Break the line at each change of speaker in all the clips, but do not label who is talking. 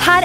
her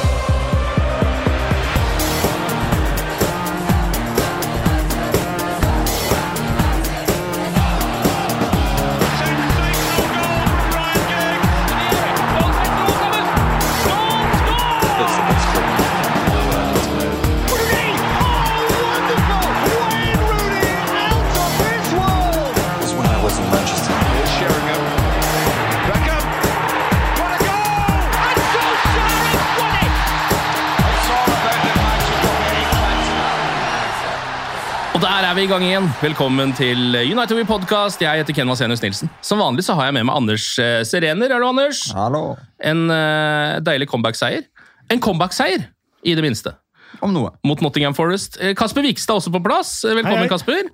Og der er vi i gang igjen. Velkommen til United We Podcast. Jeg heter Ken Vasenius Nilsen. Som vanlig så har jeg med meg Anders eh, Serener. Er du Anders?
Hallo.
En eh, deilig comeback-seier. En comeback-seier, i det minste,
Om noe.
mot Nottingham Forest. Eh, Kasper Vikstad er også på plass. Eh, Velkommen,
Hei, hei.
Kasper.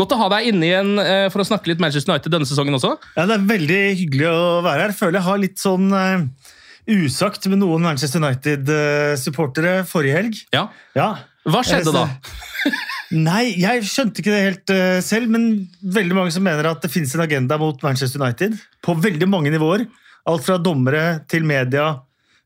Godt å ha deg inne igjen eh, for å snakke litt Manchester United denne sesongen også.
Ja, det er veldig hyggelig å være her. Føler jeg har litt sånn eh, usagt med noen Manchester United-supportere forrige helg.
Ja.
Ja.
Hva skjedde da?
Nei, jeg skjønte ikke det helt eh, selv, men veldig mange som mener at det finnes en agenda mot Manchester United på veldig mange nivåer. Alt fra dommere til media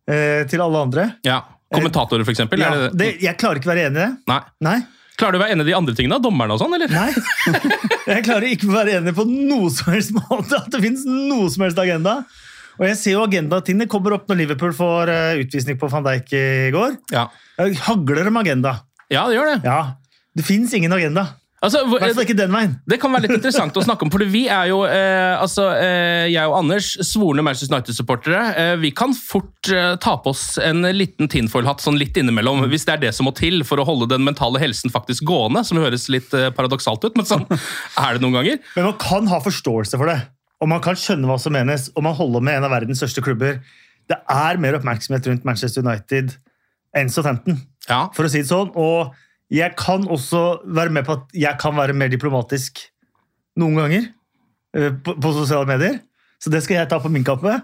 eh, til alle andre.
Ja, Kommentatorer, f.eks.?
Ja,
Ja,
det, jeg klarer ikke å være enig i det.
Nei.
Nei.
Klarer du å være enig i de andre tingene? Dommerne og sånn, eller?
Nei. Jeg klarer ikke å være enig på noe som helst måte at det finnes noe som helst agenda. Og jeg ser jo agendatingene kommer opp når Liverpool får eh, utvisning på van Dijk i går.
Ja.
Jeg hagler om agenda.
ja, det gjør det.
Ja, det finnes ingen agenda.
Altså,
I hvert
hvor,
fall ikke den veien.
Det kan være litt interessant å snakke om, for vi er jo, eh, altså, eh, jeg og Anders, svorne Manchester United-supportere. Eh, vi kan fort eh, ta på oss en liten tinfoil-hatt sånn litt innimellom, hvis det er det som må til for å holde den mentale helsen faktisk gående, som høres litt eh, paradoksalt ut, men sånn er det noen ganger.
Men man kan ha forståelse for det. Og man kan skjønne hva som menes, og man holder med en av verdens største klubber. Det er mer oppmerksomhet rundt Manchester United enn Southampton.
Ja,
for å si det sånn. Og jeg kan også være med på at jeg kan være mer diplomatisk noen ganger eh, på, på sosiale medier. Så det skal jeg ta på min kappe.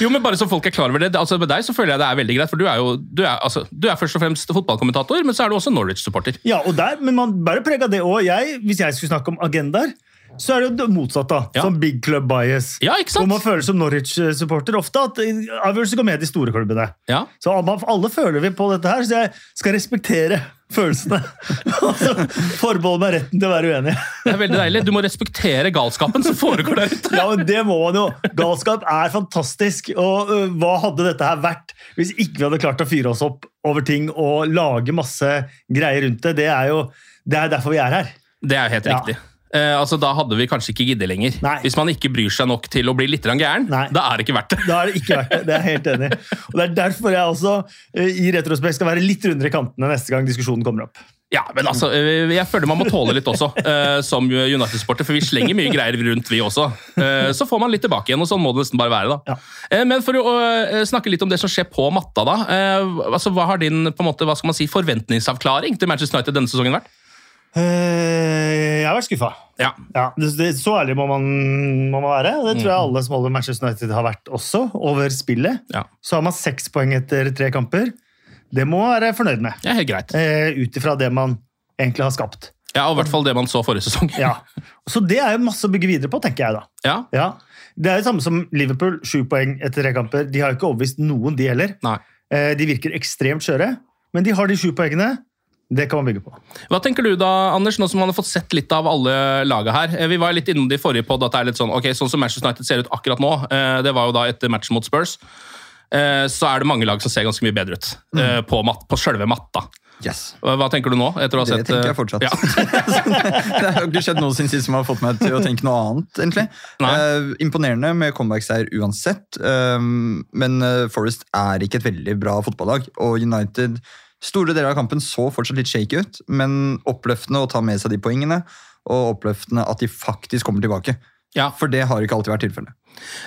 Jo, men bare så folk er klar over det. det- Altså, med deg så føler jeg det er veldig greit, for du er jo du er, altså, du er først og fremst fotballkommentator, men så er du også Norwich-supporter.
Ja, og der, Men man bærer preg av det òg. Hvis jeg skulle snakke om agendaer, så er det jo det motsatte.
Ja.
Ja. Som big club bias.
Ja, ikke
Hvor man
sant?
føler som Norwich-supporter ofte at eh, avgjørelser går med de store klubbene.
Ja.
Så alle- alle føler vi på dette her, så jeg skal respektere følelsene. Og så forbeholde meg retten til å være uenig.
Det er veldig deilig. Du må respektere galskapen som foregår der ute.
Ja, men det må man jo. Galskap er fantastisk. Og øh, hva hadde dette her vært hvis ikke vi hadde klart å fyre oss opp over ting og lage masse greier rundt det? Det er jo det er derfor vi er her.
Det er jo helt
Ja.
riktig. Eh, altså, Da hadde vi kanskje ikke giddet lenger.
Nei.
Hvis man ikke bryr seg nok til å bli litt grann gæren,
Nei.
da er det ikke verdt det.
Da er det ikke verdt det. Det er jeg helt enig i. Og det er derfor jeg også øh, i retrospekt skal være litt rundere i kantene neste gang diskusjonen kommer opp.
Ja, men altså, eh, Jeg føler man må tåle litt også, eh, som United-sporter, for vi slenger mye greier rundt, vi også. Eh, så får man litt tilbake igjen, og sånn må det nesten bare være. da.
Ja.
Eh, men for å eh, snakke litt om det som skjer på matta, da. eh, altså, Hva har din på en måte, hva skal man si, forventningsavklaring til Manchester United denne sesongen vært?
Eh, jeg har vært skuffa.
Ja,
Ja, det, det, Så ærlig må man, må man være. og Det tror jeg alle som holder Manchester United har vært også, over spillet.
Ja.
Så har man seks poeng etter tre kamper. Det må man være fornøyd med,
det er helt greit.
eh, ut ifra det man egentlig har skapt.
Ja, og I hvert fall det man så forrige sesong.
Ja. Så det er jo masse å bygge videre på, tenker jeg da.
Ja,
Ja. Det er det samme som Liverpool, sju poeng etter tre kamper. De har jo ikke overbevist noen, de heller.
nei.
Eh, de virker ekstremt skjøre, men de har de sju poengene. Det kan man bygge på.
Hva tenker du da, Anders, nå som man har fått sett litt av alle laga her? Eh, Vi var litt innom det i forrige podd at det er litt sånn ok, sånn som Manchester United ser ut akkurat nå, eh, det var jo da etter matchen
Mm.
mot Spurs, eh, så er det mange lag som ser ganske mye bedre ut eh, på, mat, på sjølve matta.
Yes.
Hva hva tenker du nå? etter å ha
Det
sett...
tenker
eh,
jeg fortsatt.
Ja.
Det har ikke skjedd noe siden sist som har fått meg til å tenke noe annet, egentlig.
Nei.
Eh, imponerende med comebackseier uansett, eh, men eh, Forest er ikke et veldig bra fotballag, og United store deler av kampen så fortsatt litt shaky ut, men oppløftende å ta med seg de poengene, og oppløftende at de faktisk kommer tilbake.
Ja.
For det har ikke alltid vært tilfellet.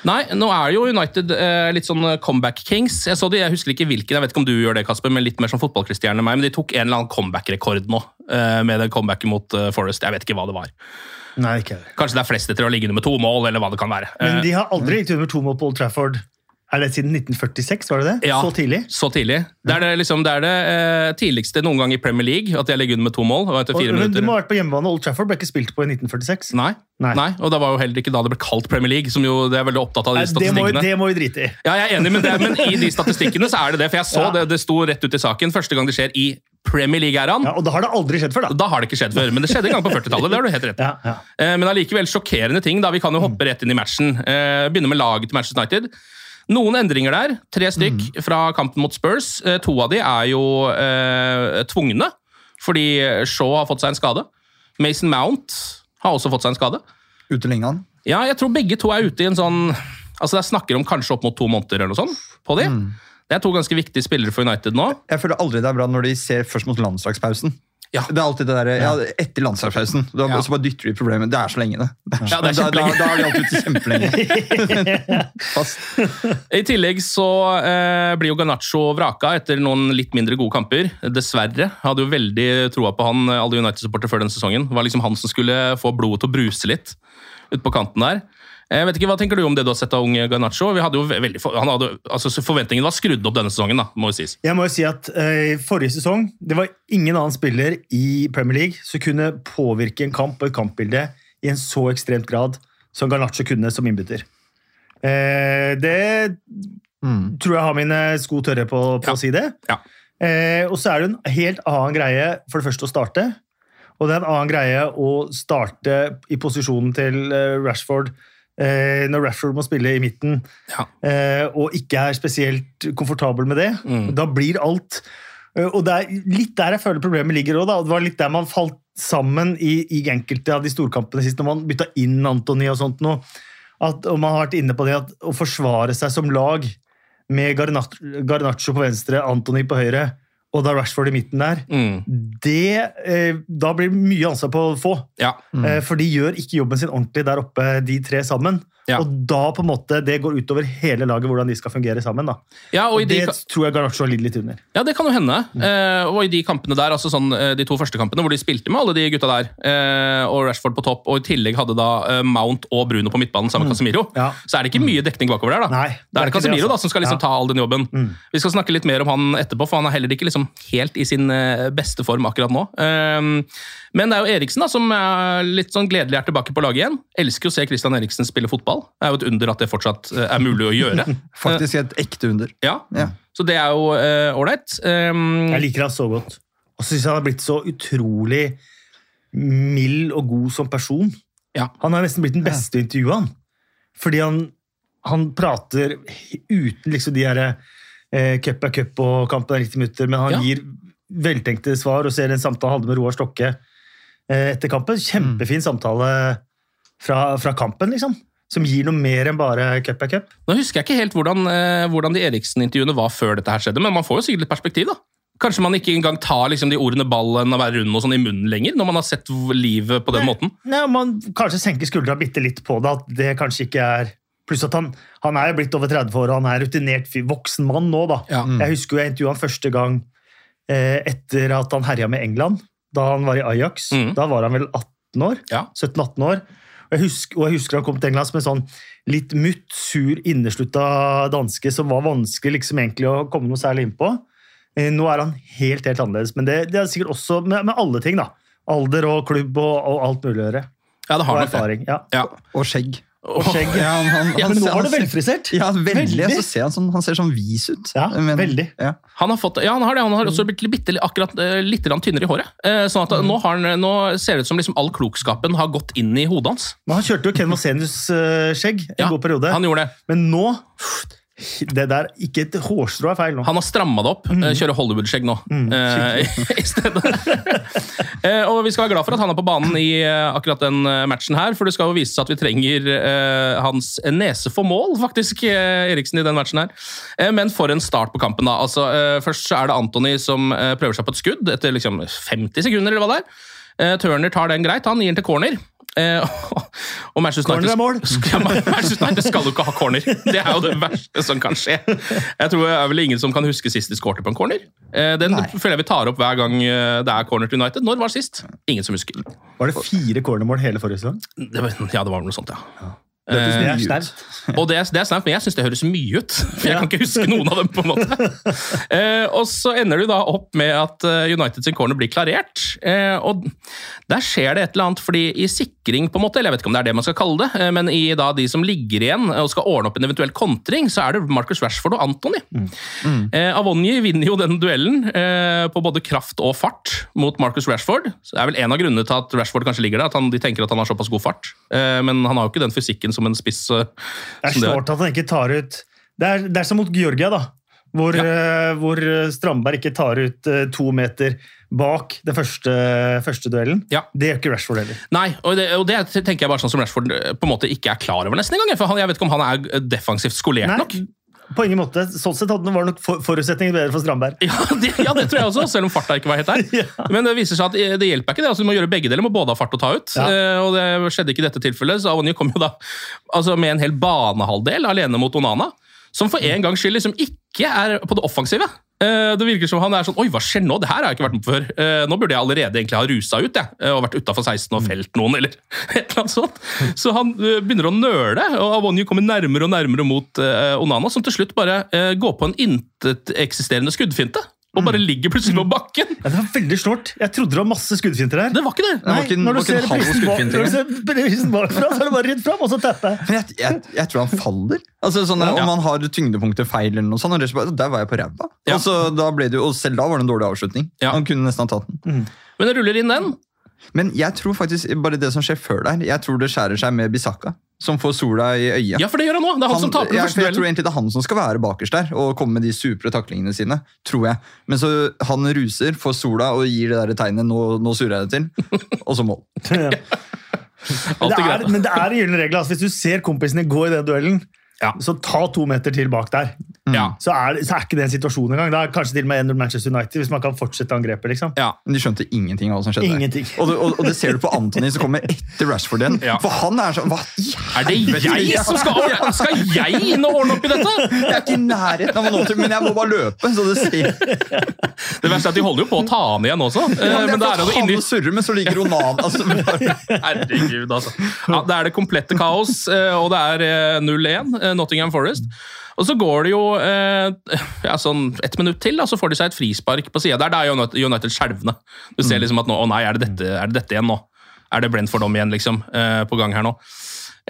Nei, nå er jo United eh, litt sånn comeback kings. Jeg så de, jeg husker ikke hvilken, jeg vet ikke om du gjør det, Kasper, men litt mer som fotballkristian enn meg, men de tok en eller annen comeback-rekord nå eh, med den comebacken mot eh, Forest. Jeg vet ikke hva det var.
Nei, ikke det.
Kanskje det er flest etter å ligge nummer to mål, eller hva det kan være.
Men
Eh,
de har aldri ligget under to mål på Old Trafford. Er det siden 1946? var det det?
Ja.
Så tidlig?
så tidlig. Det er det, liksom, det, er det eh, tidligste noen gang i Premier League at de har ligget under med to mål. og etter
Og,
fire
men det
minutter...
må ha vært på hjemmebane. Old Trafford ble ikke spilt på i 1946.
Nei.
Nei.
Nei, og det var jo heller ikke da det ble kalt Premier League, som jo det er veldig opptatt av de
Nei, det, må,
statistikkene.
det må vi drite i.
Ja, jeg er enig med det, men i de statistikkene så er det det, for jeg så
Ja.
det, det sto rett ut i saken. Første gang det skjer i Premier League-æraen.
Ja, og da har det aldri skjedd før, da.
Da har det ikke skjedd før, men det skjedde en gang på 40-tallet. det har du helt rett i.
Ja, ja.
Eh, Men allikevel sjokkerende ting. da Vi kan jo hoppe rett inn i matchen. Eh, Begynner med laget til Manchester United. Noen endringer der. Tre stykk fra kampen mot Spurs. Eh, To av de er jo eh, tvungne, fordi Shaw har fått seg en skade. Mason Mount har også fått seg en skade.
Ute lenge han.
Ja, jeg tror begge to er ute i en sånn Altså, det er snakker om kanskje opp mot to måneder eller noe sånt på de. Det er to ganske viktige spillere for United nå.
Jeg føler aldri det er bra når de ser først mot landslagspausen.
Ja.
Det er alltid det derre ja, Etter landslagspausen. Da
Ja.
så bare dytter de problemet. Det er så lenge, det. det, er så,
Ja, det er
da, da,
kjempelenge.
da er de alltid ute kjempelenge. Fast.
I tillegg så eh, blir jo Ganacho vraka etter noen litt mindre gode kamper. Dessverre. Jeg Hadde jo veldig troa på han, eh, alle United-supportere før denne sesongen. Det var liksom han som skulle få blodet til å bruse litt ut på kanten der. Jeg vet ikke, Hva tenker du om det du har sett av unge Ganacho? Vi hadde jo ve- veldig, for- han hadde, altså, forventningene var skrudd opp denne sesongen, da, må jo sies.
Jeg må jo si at eh, Forrige sesong det var ingen annen spiller i Premier League som kunne påvirke en kamp og et kampbilde i en så ekstremt grad som Garnaccio kunne som innbytter. Eh, det tror jeg har mine sko tørre på,
Ja.
på å si det.
Ja.
Eh, og så er det en helt annen greie for det første å starte. Og det er en annen greie å starte i posisjonen til eh, Rashford eh, når Rashford må spille i midten
Ja.
eh, og ikke er spesielt komfortabel med det,
Mm.
da blir alt eh, Og det er litt der jeg føler problemet ligger òg, da. og Det var litt der man falt sammen i, i enkelte av de storkampene sist, når man bytta inn Antony og sånt noe. At, og man har vært inne på det at å forsvare seg som lag med Garnat- Garnaccio på venstre, Antony på høyre, og da Rashford i midten der,
Mm.
det eh, Da blir det mye ansvar på få.
ja.
Eh, For de gjør ikke jobben sin ordentlig der oppe, de tre sammen.
Ja.
Og da på en måte, det går utover hele laget hvordan de skal fungere sammen. da.
ja og i
Og
de,
det tror jeg Garnaccio har lidd litt under.
Ja, det kan jo hende.
Mm.
Eh, og i de kampene der, altså sånn, eh, de to første kampene hvor de spilte med alle de gutta der, eh, og Rashford på topp, og i tillegg hadde da eh, Mount og Bruno på midtbanen sammen med Casemiro,
Mm. Ja. Mm.
så er det ikke mye dekning bakover der. da.
Nei,
det er det Casemiro
altså.
da, som skal liksom
Ja. Mm.
ta all den jobben. Vi skal snakke litt mer om han etterpå, for han er heller ikke liksom helt i sin eh, beste form akkurat nå. Ehm, men det er jo Eriksen da, som er litt sånn gledelig er tilbake på laget igjen. Elsker jo å se Christian Eriksen spille fotball. Det er jo et under at det fortsatt eh, er mulig å gjøre.
Faktisk et ekte under.
ja.
Ja.
Så det er jo eh, ålreit. Ehm,
Jeg liker han så godt. Og så syns jeg han har blitt så utrolig mild og god som person.
Ja.
Han har nesten blitt den beste å intervjue, han. Fordi han, han prater uten liksom de her eh, cup er cup og kampen er 90 minutter, men han
Ja.
gir veltenkte svar og ser en samtale han hadde med Roar Stokke eh, etter kampen. Kjempefin
Mm.
samtale fra, fra kampen, liksom. Som gir noe mer enn bare cup er cup.
Nå husker jeg ikke helt hvordan, eh, hvordan de Eriksen-intervjuene var før dette her skjedde, men man får jo sikkert litt perspektiv, da. Kanskje man ikke engang tar liksom, de ordene ballen og være rund og sånn i munnen lenger, når man har sett v- livet på den måten.
Nei, om man kanskje senker skuldra bitte litt på det, at det kanskje ikke er Pluss at han, han er jo blitt over 30 år, og han er rutinert fyr, voksen mann nå, da.
Ja.
Jeg husker jo jeg intervjua han første gang eh, etter at han herja med England, da han var i Ajax.
Mm.
Da var han vel 18 år?
Ja.
17-18 år. Og jeg, husker, og jeg husker han kom til England som en sånn litt mutt, sur, inneslutta danske som var vanskelig liksom egentlig å komme noe særlig inn på. Eh, Nå er han helt helt annerledes, men det, det er sikkert også med, med alle ting. da. Alder og klubb og, og alt mulig å gjøre.
Ja, det har
Og
nok det.
erfaring. ja.
Ja.
Og skjegg.
Og
skjegg.
Ja, han, han,
Ja,
han
men nå
ser-
var
han
det
ser-
velfrisert!
Ja, veldig.
Veldig.
Og så ser han sånn, han ser sånn vis ut.
Ja, veldig.
Ja.
Han har, fått, ja, han har det. Han har
Mm.
også blitt litt, bitte, akkurat eh, litt grann tynnere i håret. Eh, Sånn at nå, har han, nå ser det ut som liksom all klokskapen har gått inn i hodet hans.
Men han kjørte jo Ken Vasenius-skjegg eh, en
Ja,
god periode.
Han gjorde det.
Men nå Det der, ikke et hårstrå er feil nå. Mm.
Han har stramma det opp. eh, Kjører Hollywood-skjegg nå. eh, I stedet. Eh, og vi skal være glad for at han er på banen i eh, akkurat den eh, matchen her, for det skal jo vise seg at vi trenger eh, hans nese for mål, faktisk, eh, Eriksen, i den matchen her. Eh, men for en start på kampen, da. Altså, eh, først så er det Anthony som eh, prøver seg på et skudd etter liksom 50 sekunder, eller hva det er. Eh, Turner tar den greit, han gir den til corner. Eh, og Manchester
Corner er mål.
United, skal, Manchester United skal jo ikke ha corner! Det er jo det verste som kan skje. Jeg tror det er vel ingen som kan huske sist de skårte på en corner. Eh, Den føler jeg vi tar opp hver gang eh, det er corner til United. Når var det sist? Ingen som husker.
Var det fire cornermål hele forrige sesong?
Det var, ja, det var vel noe sånt, ja.
Hørtes
Eh,
mye ut.
og det, er- det er snaut, men jeg syns det høres mye ut. For jeg kan ikke huske noen av dem. på en måte. Eh, og så ender du da opp med at eh, United sin corner blir klarert. Eh, og der skjer det et eller annet, fordi i sikring, på en måte, eller jeg vet ikke om det er det man skal kalle det, eh, men i da de som ligger igjen og skal ordne opp en eventuell kontring, så er det Marcus Rashford og Anthony. Eh, Avonji vinner jo den duellen eh, på både kraft og fart mot Marcus Rashford. Så det er vel en av grunnene til at Rashford kanskje ligger der, at han, de tenker at han har såpass god fart. Eh, men han har jo ikke den fysikken som en spiss. Eh,
Det er
som det er.
snålt at han ikke tar ut det er, det er som mot Georgia, da. Hvor, eh, hvor eh, Strandberg ikke tar ut eh, to meter bak den første, første duellen.
Ja.
Det gjør ikke Rashford heller.
Nei, og det, og det tenker jeg bare sånn som Rashford eh, på en måte ikke er klar over nesten engang. jeg, For han, jeg vet ikke om han er eh, defensivt skolert
Nei,
nok.
På ingen måte. Sånn sett hadde det var nok for, forutsetninger bedre for Strandberg.
Ja det, ja, det tror jeg også, selv om farta ikke var helt der.
Ja.
Men det viser seg at eh, det hjelper ikke. det, altså Du må gjøre begge deler. Du må både ha fart og ta ut.
Ja.
Eh, og det skjedde ikke i dette tilfellet, så Avonye kom jo da altså med en hel banehalvdel alene mot Onana. Som for en gangs skyld liksom ikke er på det offensive. Eh, Det virker som han er sånn Oi, hva skjer nå? Det her har jeg ikke vært med på før. Eh, Nå burde jeg allerede egentlig ha rusa ut jeg, eh, og vært utafor 16 og felt noen, eller et eller annet sånt. Så han eh, begynner å nøle, og Avonyu kommer nærmere og nærmere mot eh, Onana, som til slutt bare eh, går på en inteteksisterende skuddfinte. Og bare ligger plutselig på bakken!
Ja, det var veldig snålt. Jeg trodde det var masse skuddfinter her.
Det var ikke det!
var ikke en-
når du
var ikke en
ser
halv
prisen bak-
skuddfinte
når du ser prisen bakfra, så er det bare rett fram, og så teppe.
Men jeg, jeg, jeg tror han faller. Altså sånn, Om han har tyngdepunktet feil, eller noe sånt. og det er så bare, Der var jeg på ræva.
Ja.
Og så da ble det jo- og selv da var det en dårlig avslutning.
Ja.
Han kunne nesten ha tatt den.
Mm.
Men jeg ruller inn den.
Men jeg tror faktisk bare det som skjer før der, jeg tror det skjærer seg med Bisaka, som får sola i øyet.
Ja, for det gjør han nå! Det er han, som taper den
jeg,
første
jeg tror
duellen.
egentlig det er han som skal være bakerst der og komme med de supre taklingene sine. tror jeg. Men så han ruser, får sola og gir det der tegnet 'nå, nå surer jeg det til', og så mål.
Men
Alt er
det er,
greit.
men det er en gyllen regel. Altså, hvis du ser kompisen din gå i den duellen,
Ja. Mm.
så ta to meter til bak der.
Ja.
så er, så er ikke det en situasjon engang. Da er det kanskje til og med 1-0 Manchester United, hvis man kan fortsette angrepet. liksom.
Ja.
Men de skjønte ingenting av hva som skjedde. der.
Ingenting.
Og, det- og, og det ser du på Anthony som kommer etter Rashford igjen.
Ja.
For han er sånn Hva i
Er det jeg som skal Skal jeg inn og ordne opp i dette?!
Jeg er ikke i nærheten av å nå til, men jeg må bare løpe. Så det ser.
Det verste er at de holder jo på å ta han igjen også. Eh, men da er han jo
han
inni
og surrer, men så ligger Onan altså, bare,
Herregud, altså. Ja, det er det komplette kaos, eh, og det er eh, 0-1, eh, Nottingham Forest. Og så går det jo eh, ja, sånn ett minutt til, da, så får de seg et frispark på sida. Der da er United- United skjelvende. Du ser liksom at nå, å nei, er det dette, er det dette igjen nå? Er det Brentford om igjen, liksom, eh, på gang her nå?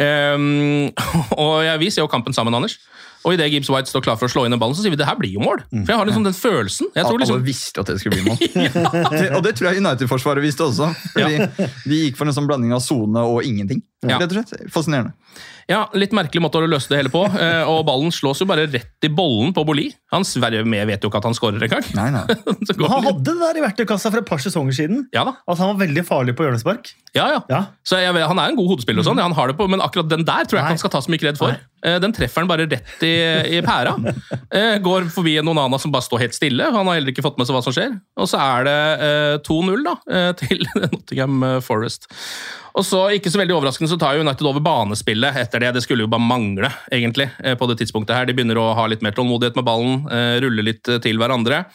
Ehm, og jeg, vi ser jo kampen sammen, Anders. Og idet Gibbs White står klar for å slå inn den ballen, så sier vi det her blir jo mål. For jeg har liksom den følelsen. Jeg tror
Alle
liksom,
visste at det skulle bli mål. Det- Og det tror jeg United-forsvaret visste også. Fordi De gikk for en sånn blanding av sone og ingenting.
Ja.
Rett og slett. Fascinerende.
Ja, Litt merkelig måte å løse det hele på. eh, Og ballen slås jo bare rett i bollen på Boli. Han Sverre med vet jo ikke at han skårer engang.
Nei, nei.
Så går den-
Han hadde det der i verktøykassa for et par sesonger siden.
Ja da.
At han var veldig farlig på hjørnespark.
Ja, ja.
Ja.
Så jeg, vet- Han er en god hodespiller, og sånn, han har det på, men akkurat den der tror jeg ikke
Mm. Nei.
han skal ta så mye redd for. Eh, Den treffer han bare rett i, i pæra. Eh, Går forbi en Onana som bare står helt stille. Han har heller ikke fått med seg hva som skjer. Og så er det eh, 2-0 da, eh, til Nottingham eh, Forest. Og så, ikke så veldig overraskende, så tar jo United over banespillet etter det. Det skulle jo bare mangle, egentlig, eh, på det tidspunktet her. De begynner å ha litt mer tålmodighet med ballen, eh, rulle litt eh, til hverandre.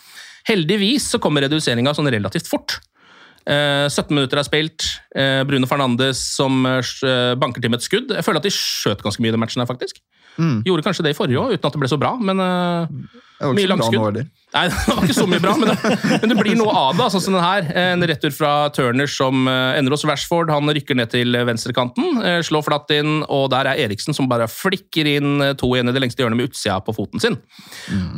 Heldigvis så kommer reduseringa sånn relativt fort. Eh, 17 minutter er spilt. Eh, Bruno Fernandes som eh, s- eh, banker til med et skudd. Jeg føler at de skjøt ganske mye i den matchen her, faktisk. Gjorde kanskje det i forrige òg, uten at det ble så bra, men eh,
Mm. Det var ikke
Mye
så bra
langskudd.
nå heller.
Nei, det var ikke så mye bra, men det, men det blir noe av det. Sånn som den her. En retur fra Turner som eh, ender hos Rashford. Han rykker ned til venstrekanten, eh, slår flatt inn, og der er Eriksen som bare flikker inn eh, to igjen i det lengste hjørnet med utsida på foten sin.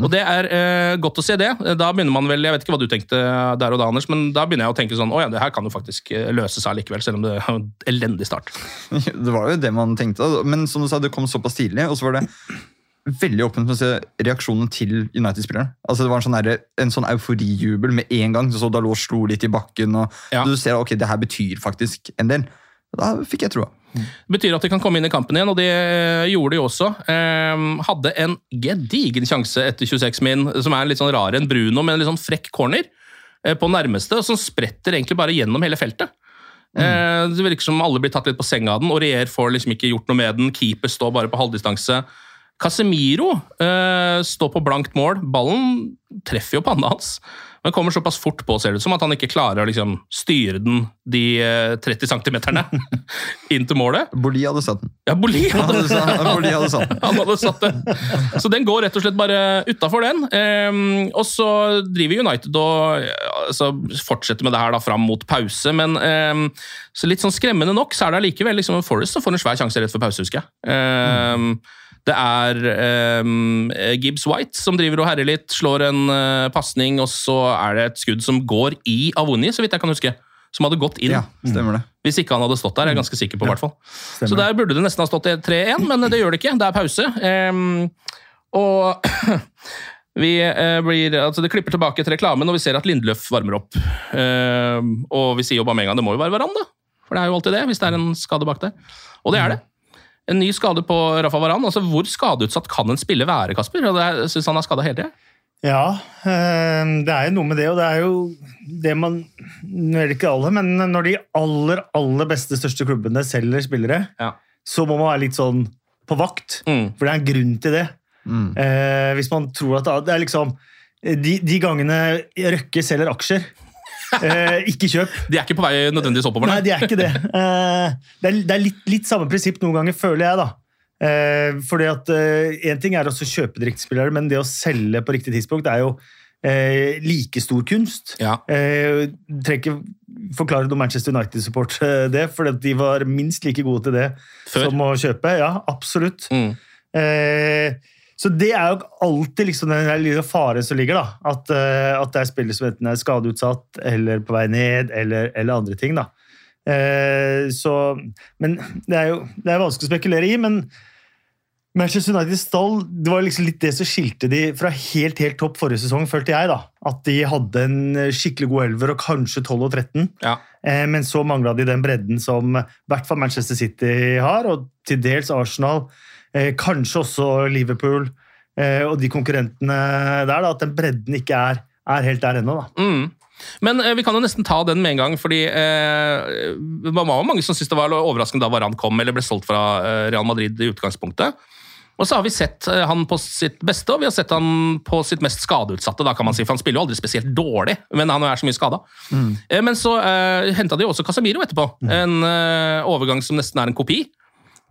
Og det er eh, godt å se det. Da begynner man vel, jeg vet ikke hva du tenkte der og da, Anders, men da begynner jeg å tenke sånn Å ja, det her kan jo faktisk eh, løse seg likevel, selv om det er en elendig start.
Det var jo det man tenkte, da. men som du sa, det kom såpass tidlig. Og så var det veldig åpen for å se reaksjonen til United-spillerne. Altså Det var en sånn, derre- en sånn euforijubel med en gang. Så Dalot slo litt i bakken, og du ser ok, det her betyr faktisk en del. Da fikk jeg troa.
Det betyr at de kan komme inn i kampen igjen, og det eh, gjorde de også. Ehm, hadde en gedigen sjanse etter 26 min, som er litt sånn rar enn Bruno, men en litt sånn frekk corner eh, på nærmeste, og som spretter egentlig bare gjennom hele feltet. Eh, det virker som alle blir tatt litt på senga av den, og Reer får liksom ikke gjort noe med den. Keeper står bare på halvdistanse. Casemiro eh, står på blankt mål. Ballen treffer jo panna hans, men kommer såpass fort på ser det ut som at han ikke klarer å liksom, styre den de eh, 30 centimeterne inn til målet.
Boli hadde satt den.
Ja, Boli hadde,
Han hadde sa- Boli hadde satt den.
Han hadde satt den. Så den går rett og slett bare utafor den. Ehm, og så driver United og ja, altså, fortsetter med det her da, fram mot pause, men ehm, så litt sånn skremmende nok så er det allikevel liksom, en Forest som får en svær sjanse rett før pause, husker jeg. Ehm, Det er ehm, Gibbs White som driver og herjer litt, slår en uh, pasning, og så er det et skudd som går i Avoni, så vidt jeg kan huske. Som hadde gått inn.
Ja, stemmer det.
Hvis ikke han hadde stått der, er jeg ganske sikker på. i hvert fall. Så der burde det nesten ha stått 3-1, men det gjør det ikke. Det er pause. Ehm, og vi eh, blir, altså det klipper tilbake til reklamen, og vi ser at Lindløf varmer opp. Ehm, og vi sier jo bare med en gang det må jo være Varane, da. For det er jo alltid det, hvis det er en skade bak der. Og det er det. En ny skade på Rafa Varane. Altså, hvor skadeutsatt kan en spiller være, Kasper? Og det er- jeg synes han er skada hele tida.
Ja, eh, det er jo noe med det, og det er jo det man Nå er det ikke alle, men når de aller, aller beste, største klubbene selger spillere, så må man være litt sånn på vakt, for det er en grunn til det. Eh, hvis man tror at det er liksom De, de gangene Røkke selger aksjer eh, Ikke kjøp.
De er ikke på vei nødvendigvis oppover.
Nei, de er ikke det. Eh, det er, det er litt, litt samme prinsipp noen ganger, føler jeg, da. Eh, fordi at én ting er også å kjøpe de riktige spillere, men det å selge på riktig tidspunkt er jo eh, like stor kunst. Eh, trenger ikke forklare noen Manchester United-support eh, det, for de var minst like gode til det som å kjøpe. Ja, absolutt.
Mm.
Eh, så det er jo alltid liksom den der lille faren som ligger, da. At, eh, at det er spillere som enten er skadeutsatt eller på vei ned, eller, eller andre ting, da. Eh, så Men det er jo det er vanskelig å spekulere i, men Manchester Uniteds stall det var liksom litt det som skilte de fra helt helt topp forrige sesong, følte jeg. da. At de hadde en skikkelig god elver og kanskje 12 og 13. Eh, men så mangla de den bredden som i hvert fall Manchester City har, og til dels Arsenal. Eh, kanskje også Liverpool eh, og de konkurrentene der. da, At den bredden ikke er, er helt der ennå. da.
Mm. Men eh, vi kan jo nesten ta den med en gang, fordi eh, det var jo mange som syntes det var overraskende da Varan kom eller ble solgt fra eh, Real Madrid i utgangspunktet. Og så har vi sett eh, han på sitt beste, og vi har sett han på sitt mest skadeutsatte. da kan man si, For han spiller jo aldri spesielt dårlig, men han er så mye skada. Eh, Men så eh, henta de jo også Casemiro etterpå. En eh, overgang som nesten er en kopi,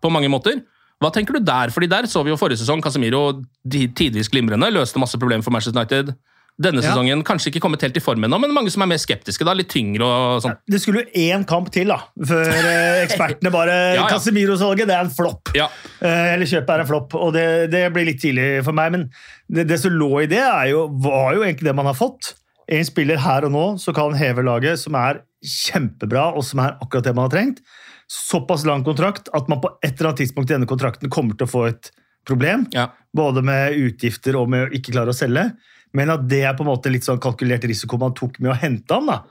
på mange måter. Hva tenker du der? Fordi der så vi jo forrige sesong Casemiro de- tidvis glimrende, løste masse problemer for Manchester United. Denne
Ja.
sesongen kanskje ikke kommet helt i form ennå, men mange som er mer skeptiske. da, Litt tyngre og sånn.
Det skulle jo én kamp til da, før eh, ekspertene bare
Ja, ja.
Casemiro-salget det er en flopp. Eh, Eller kjøpet er en flopp. Og det, det blir litt tidlig for meg, men det, det som lå i det, er jo, var jo egentlig det man har fått. En spiller her og nå som kan heve laget, som er kjempebra, og som er akkurat det man har trengt. Såpass lang kontrakt at man på et eller annet tidspunkt i denne kontrakten kommer til å få et problem. Både med utgifter og med å ikke klare å selge. Men at det er på en måte litt sånn kalkulert risiko man tok med å hente han. da.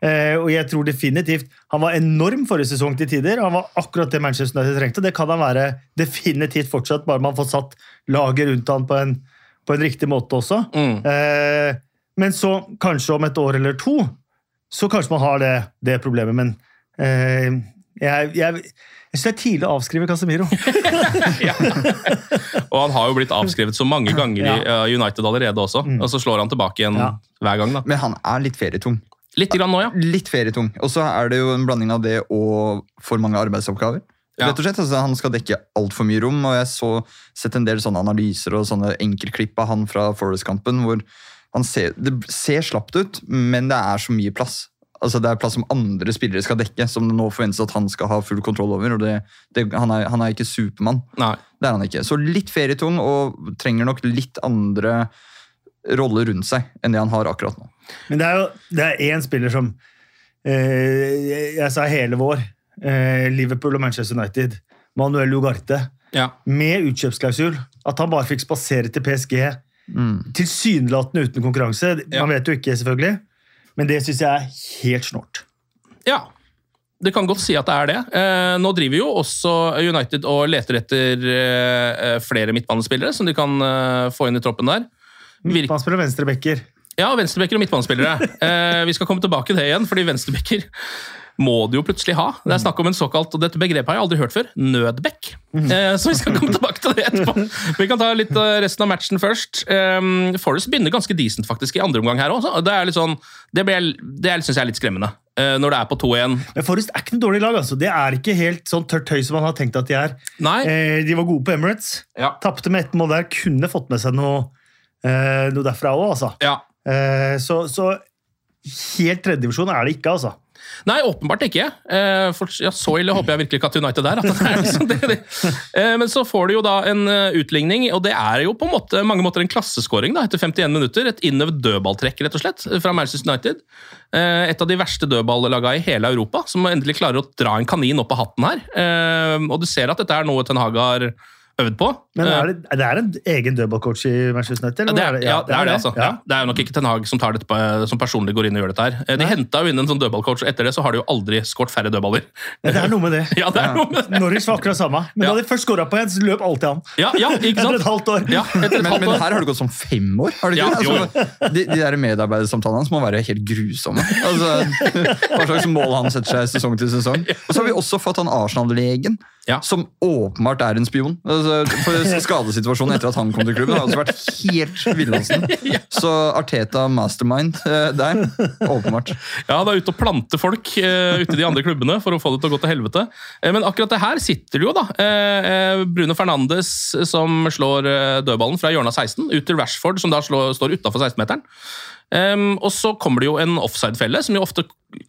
Eh, og jeg tror definitivt Han var enorm forrige sesong til tider. Han var akkurat det Manchester United trengte. Det kan han være definitivt fortsatt, bare man får satt laget rundt han på en, på en riktig måte også.
Mm.
Eh, men så, kanskje om et år eller to, så kanskje man har det, det problemet. Men eh, jeg, jeg, jeg syns det er tidlig å avskrive Casemiro.
Og han har jo blitt avskrevet så mange ganger i eh, United allerede også, og så slår han tilbake igjen hver gang. da.
Men han er litt ferietung.
Litt grann nå, ja.
Litt ferietung. Og så er det jo en blanding av det og for mange arbeidsoppgaver. Rett og slett, altså Han skal dekke altfor mye rom, og jeg så sett en del sånne analyser og sånne enkeltklipp av han fra Forest-kampen hvor han ser, det ser slappt ut, men det er så mye plass. Altså Det er plass som andre spillere skal dekke, som det nå forventes at han skal ha full kontroll over. og det, det, han, er, han er ikke Supermann. Det er han ikke. Så litt ferietung og trenger nok litt andre roller rundt seg enn det han har akkurat nå.
Men det er jo det er én spiller som eh, jeg, jeg sa hele vår. Eh, Liverpool og Manchester United. Manuel Ugarte. med utkjøpsklausul. At han bare fikk spasere til PSG.
Mm.
Tilsynelatende uten konkurranse. Man vet jo ikke, selvfølgelig. Men det syns jeg er helt snålt.
Ja. Det kan godt si at det er det. Eh, nå driver jo også United og leter etter eh, flere midtbanespillere som de kan eh, få inn i troppen der.
Midtbanespillere og venstrebacker.
Ja, venstrebacker og midtbanespillere. eh, vi skal komme tilbake til det igjen, fordi venstrebacker må du jo plutselig ha. Det er snakk om en såkalt, og dette begrepet har jeg aldri hørt før, nødbekk. Eh, så vi skal komme tilbake til det etterpå. Vi kan ta litt eh, resten av matchen først. Um, Forest begynner ganske decent faktisk i andre omgang her òg. Det, er litt sånn, det, ble jeg- det er- synes jeg er litt skremmende. eh, når det er på 2-1.
Men Forrest er ikke noe dårlig lag. altså. Det er ikke helt sånn tørt høy som man har tenkt at de er.
Nei.
Eh, de var gode på Emirates.
Ja.
Tapte med ett mål der. Kunne fått med seg noe, eh, noe derfra òg, altså.
Ja.
Eh, så, så helt tredjedivisjon er det ikke, altså.
Nei, åpenbart ikke. Eh, for, ja, så ille håper jeg virkelig ikke at United er. At det er liksom det, det. Eh, men så får du jo da en eh, utligning, og det er jo på en måte, mange måter en klasseskåring da, etter 51 minutter. Et innøvd dødballtrekk, rett og slett, fra Manchester United. Eh, et av de verste dødballagene i hele Europa, som endelig klarer å dra en kanin opp av hatten her. Eh, og du ser at dette er noe Ten Hag har øvd på.
Men
Eh,
er det, det er en egen dødballcoach i Manchester United?
ja,
eller
det
hva
er det, ja, det, er det, altså.
Ja.
Ja. Det er jo nok ikke Ten Hag som, tar dette, på- eh, som personlig går inn og gjør dette her. Eh, De henta jo inn en sånn dødballcoach, og etter det så har de jo aldri skåret færre dødballer.
Ja, det er noe med det.
Ja, det er noe med det.
Norwich var akkurat samme. Men
Ja.
da de først skåra på en, så løp alltid han.
Ja, ja, ikke sant?
Etter et halvt år.
Ja, etter et
Men,
halvt
men
år.
her har det gått som fem år. Har det ikke?
Ja,
det? altså, de, de der medarbeidersamtalene hans må være helt grusomme. Altså, hva slags mål han setter seg sesong til sesong. Og så har vi også fått han Arsenal-legen,
Ja.
som åpenbart er en spion. Altså, for Skadesituasjonen etter at han kom til klubben, har også vært helt villlandsen. Så Arteta mastermind eh, der, åpenbart.
Ja, det er ute og plante folk eh, ute i de andre klubbene for å få det til å gå til helvete. Eh, men akkurat det her sitter det jo, da. Eh, eh, Bruno Fernandes som slår eh, dødballen fra hjørnet av 16, ut til Rashford, som da slår, står utafor 16-meteren. Ehm, og så kommer det jo en offside-felle, som jo ofte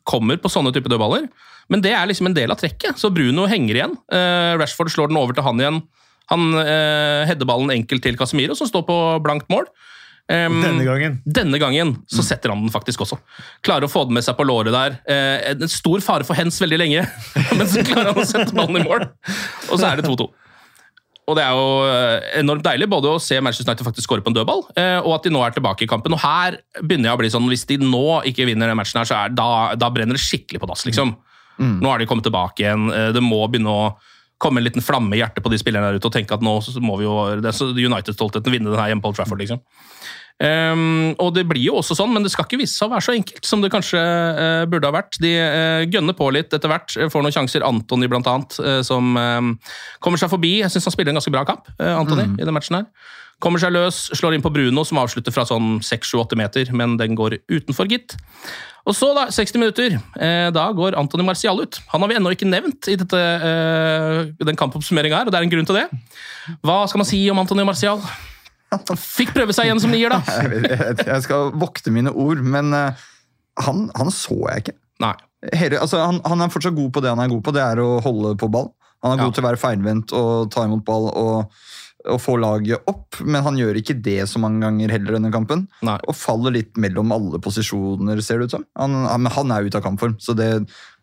kommer på sånne type dødballer. Men det er liksom en del av trekket, så Bruno henger igjen. Eh, Rashford slår den over til han igjen. Han uh, header ballen enkelt til Casemiro, som står på blankt mål. Ehm,
Denne gangen.
denne gangen så setter han den faktisk også. Klarer å få den med seg på låret der. Eh, en stor fare for hens veldig lenge, men så klarer han å sette ballen i mål. Og så er det 2-2. Og det er jo eh, enormt deilig både å se Manchester United faktisk skåre på en dødball, eh, og at de nå er tilbake i kampen. Og her begynner jeg å bli sånn, hvis de nå ikke vinner den matchen her, så er, da, da brenner det skikkelig på dass, liksom. Nå har de kommet tilbake igjen. Eh, Det må begynne å komme en liten flamme i hjertet på de spillerne der ute og tenke at nå så må vi jo det er så United-stoltheten vinne den her hjemme på Old Trafford, liksom. Ehm, og det blir jo også sånn, men det skal ikke vise seg å være så enkelt som det kanskje eh, burde ha vært. De eh, gønner på litt etter hvert, eh, får noen sjanser. Antony blant annet, eh, som eh, kommer seg forbi. Jeg syns han spiller en ganske bra kamp, eh, Antony, i den matchen her. Kommer seg løs, slår inn på Bruno, som avslutter fra sånn 6-7-8 meter, men den går utenfor, gitt. Og så, da, 60 minutter, eh, da går Antony Martial ut. Han har vi ennå ikke nevnt i dette, eh, den kampoppsummeringa her, og det er en grunn til det. Hva skal man si om Antony Martial? Fikk prøve seg igjen som nier, da.
Jeg, vet- jeg, vet- jeg skal vokte mine ord, men eh, han, han så jeg ikke.
Nei.
Hele, altså, han, han er fortsatt god på det han er god på, det er å holde på ball. Han er
Ja.
god til å være feilvendt og ta imot ball og, og få laget opp, men han gjør ikke det så mange ganger heller under kampen.
Nei.
Og faller litt mellom alle posisjoner, ser det ut som. Han, han, men han er ute av kampform, så det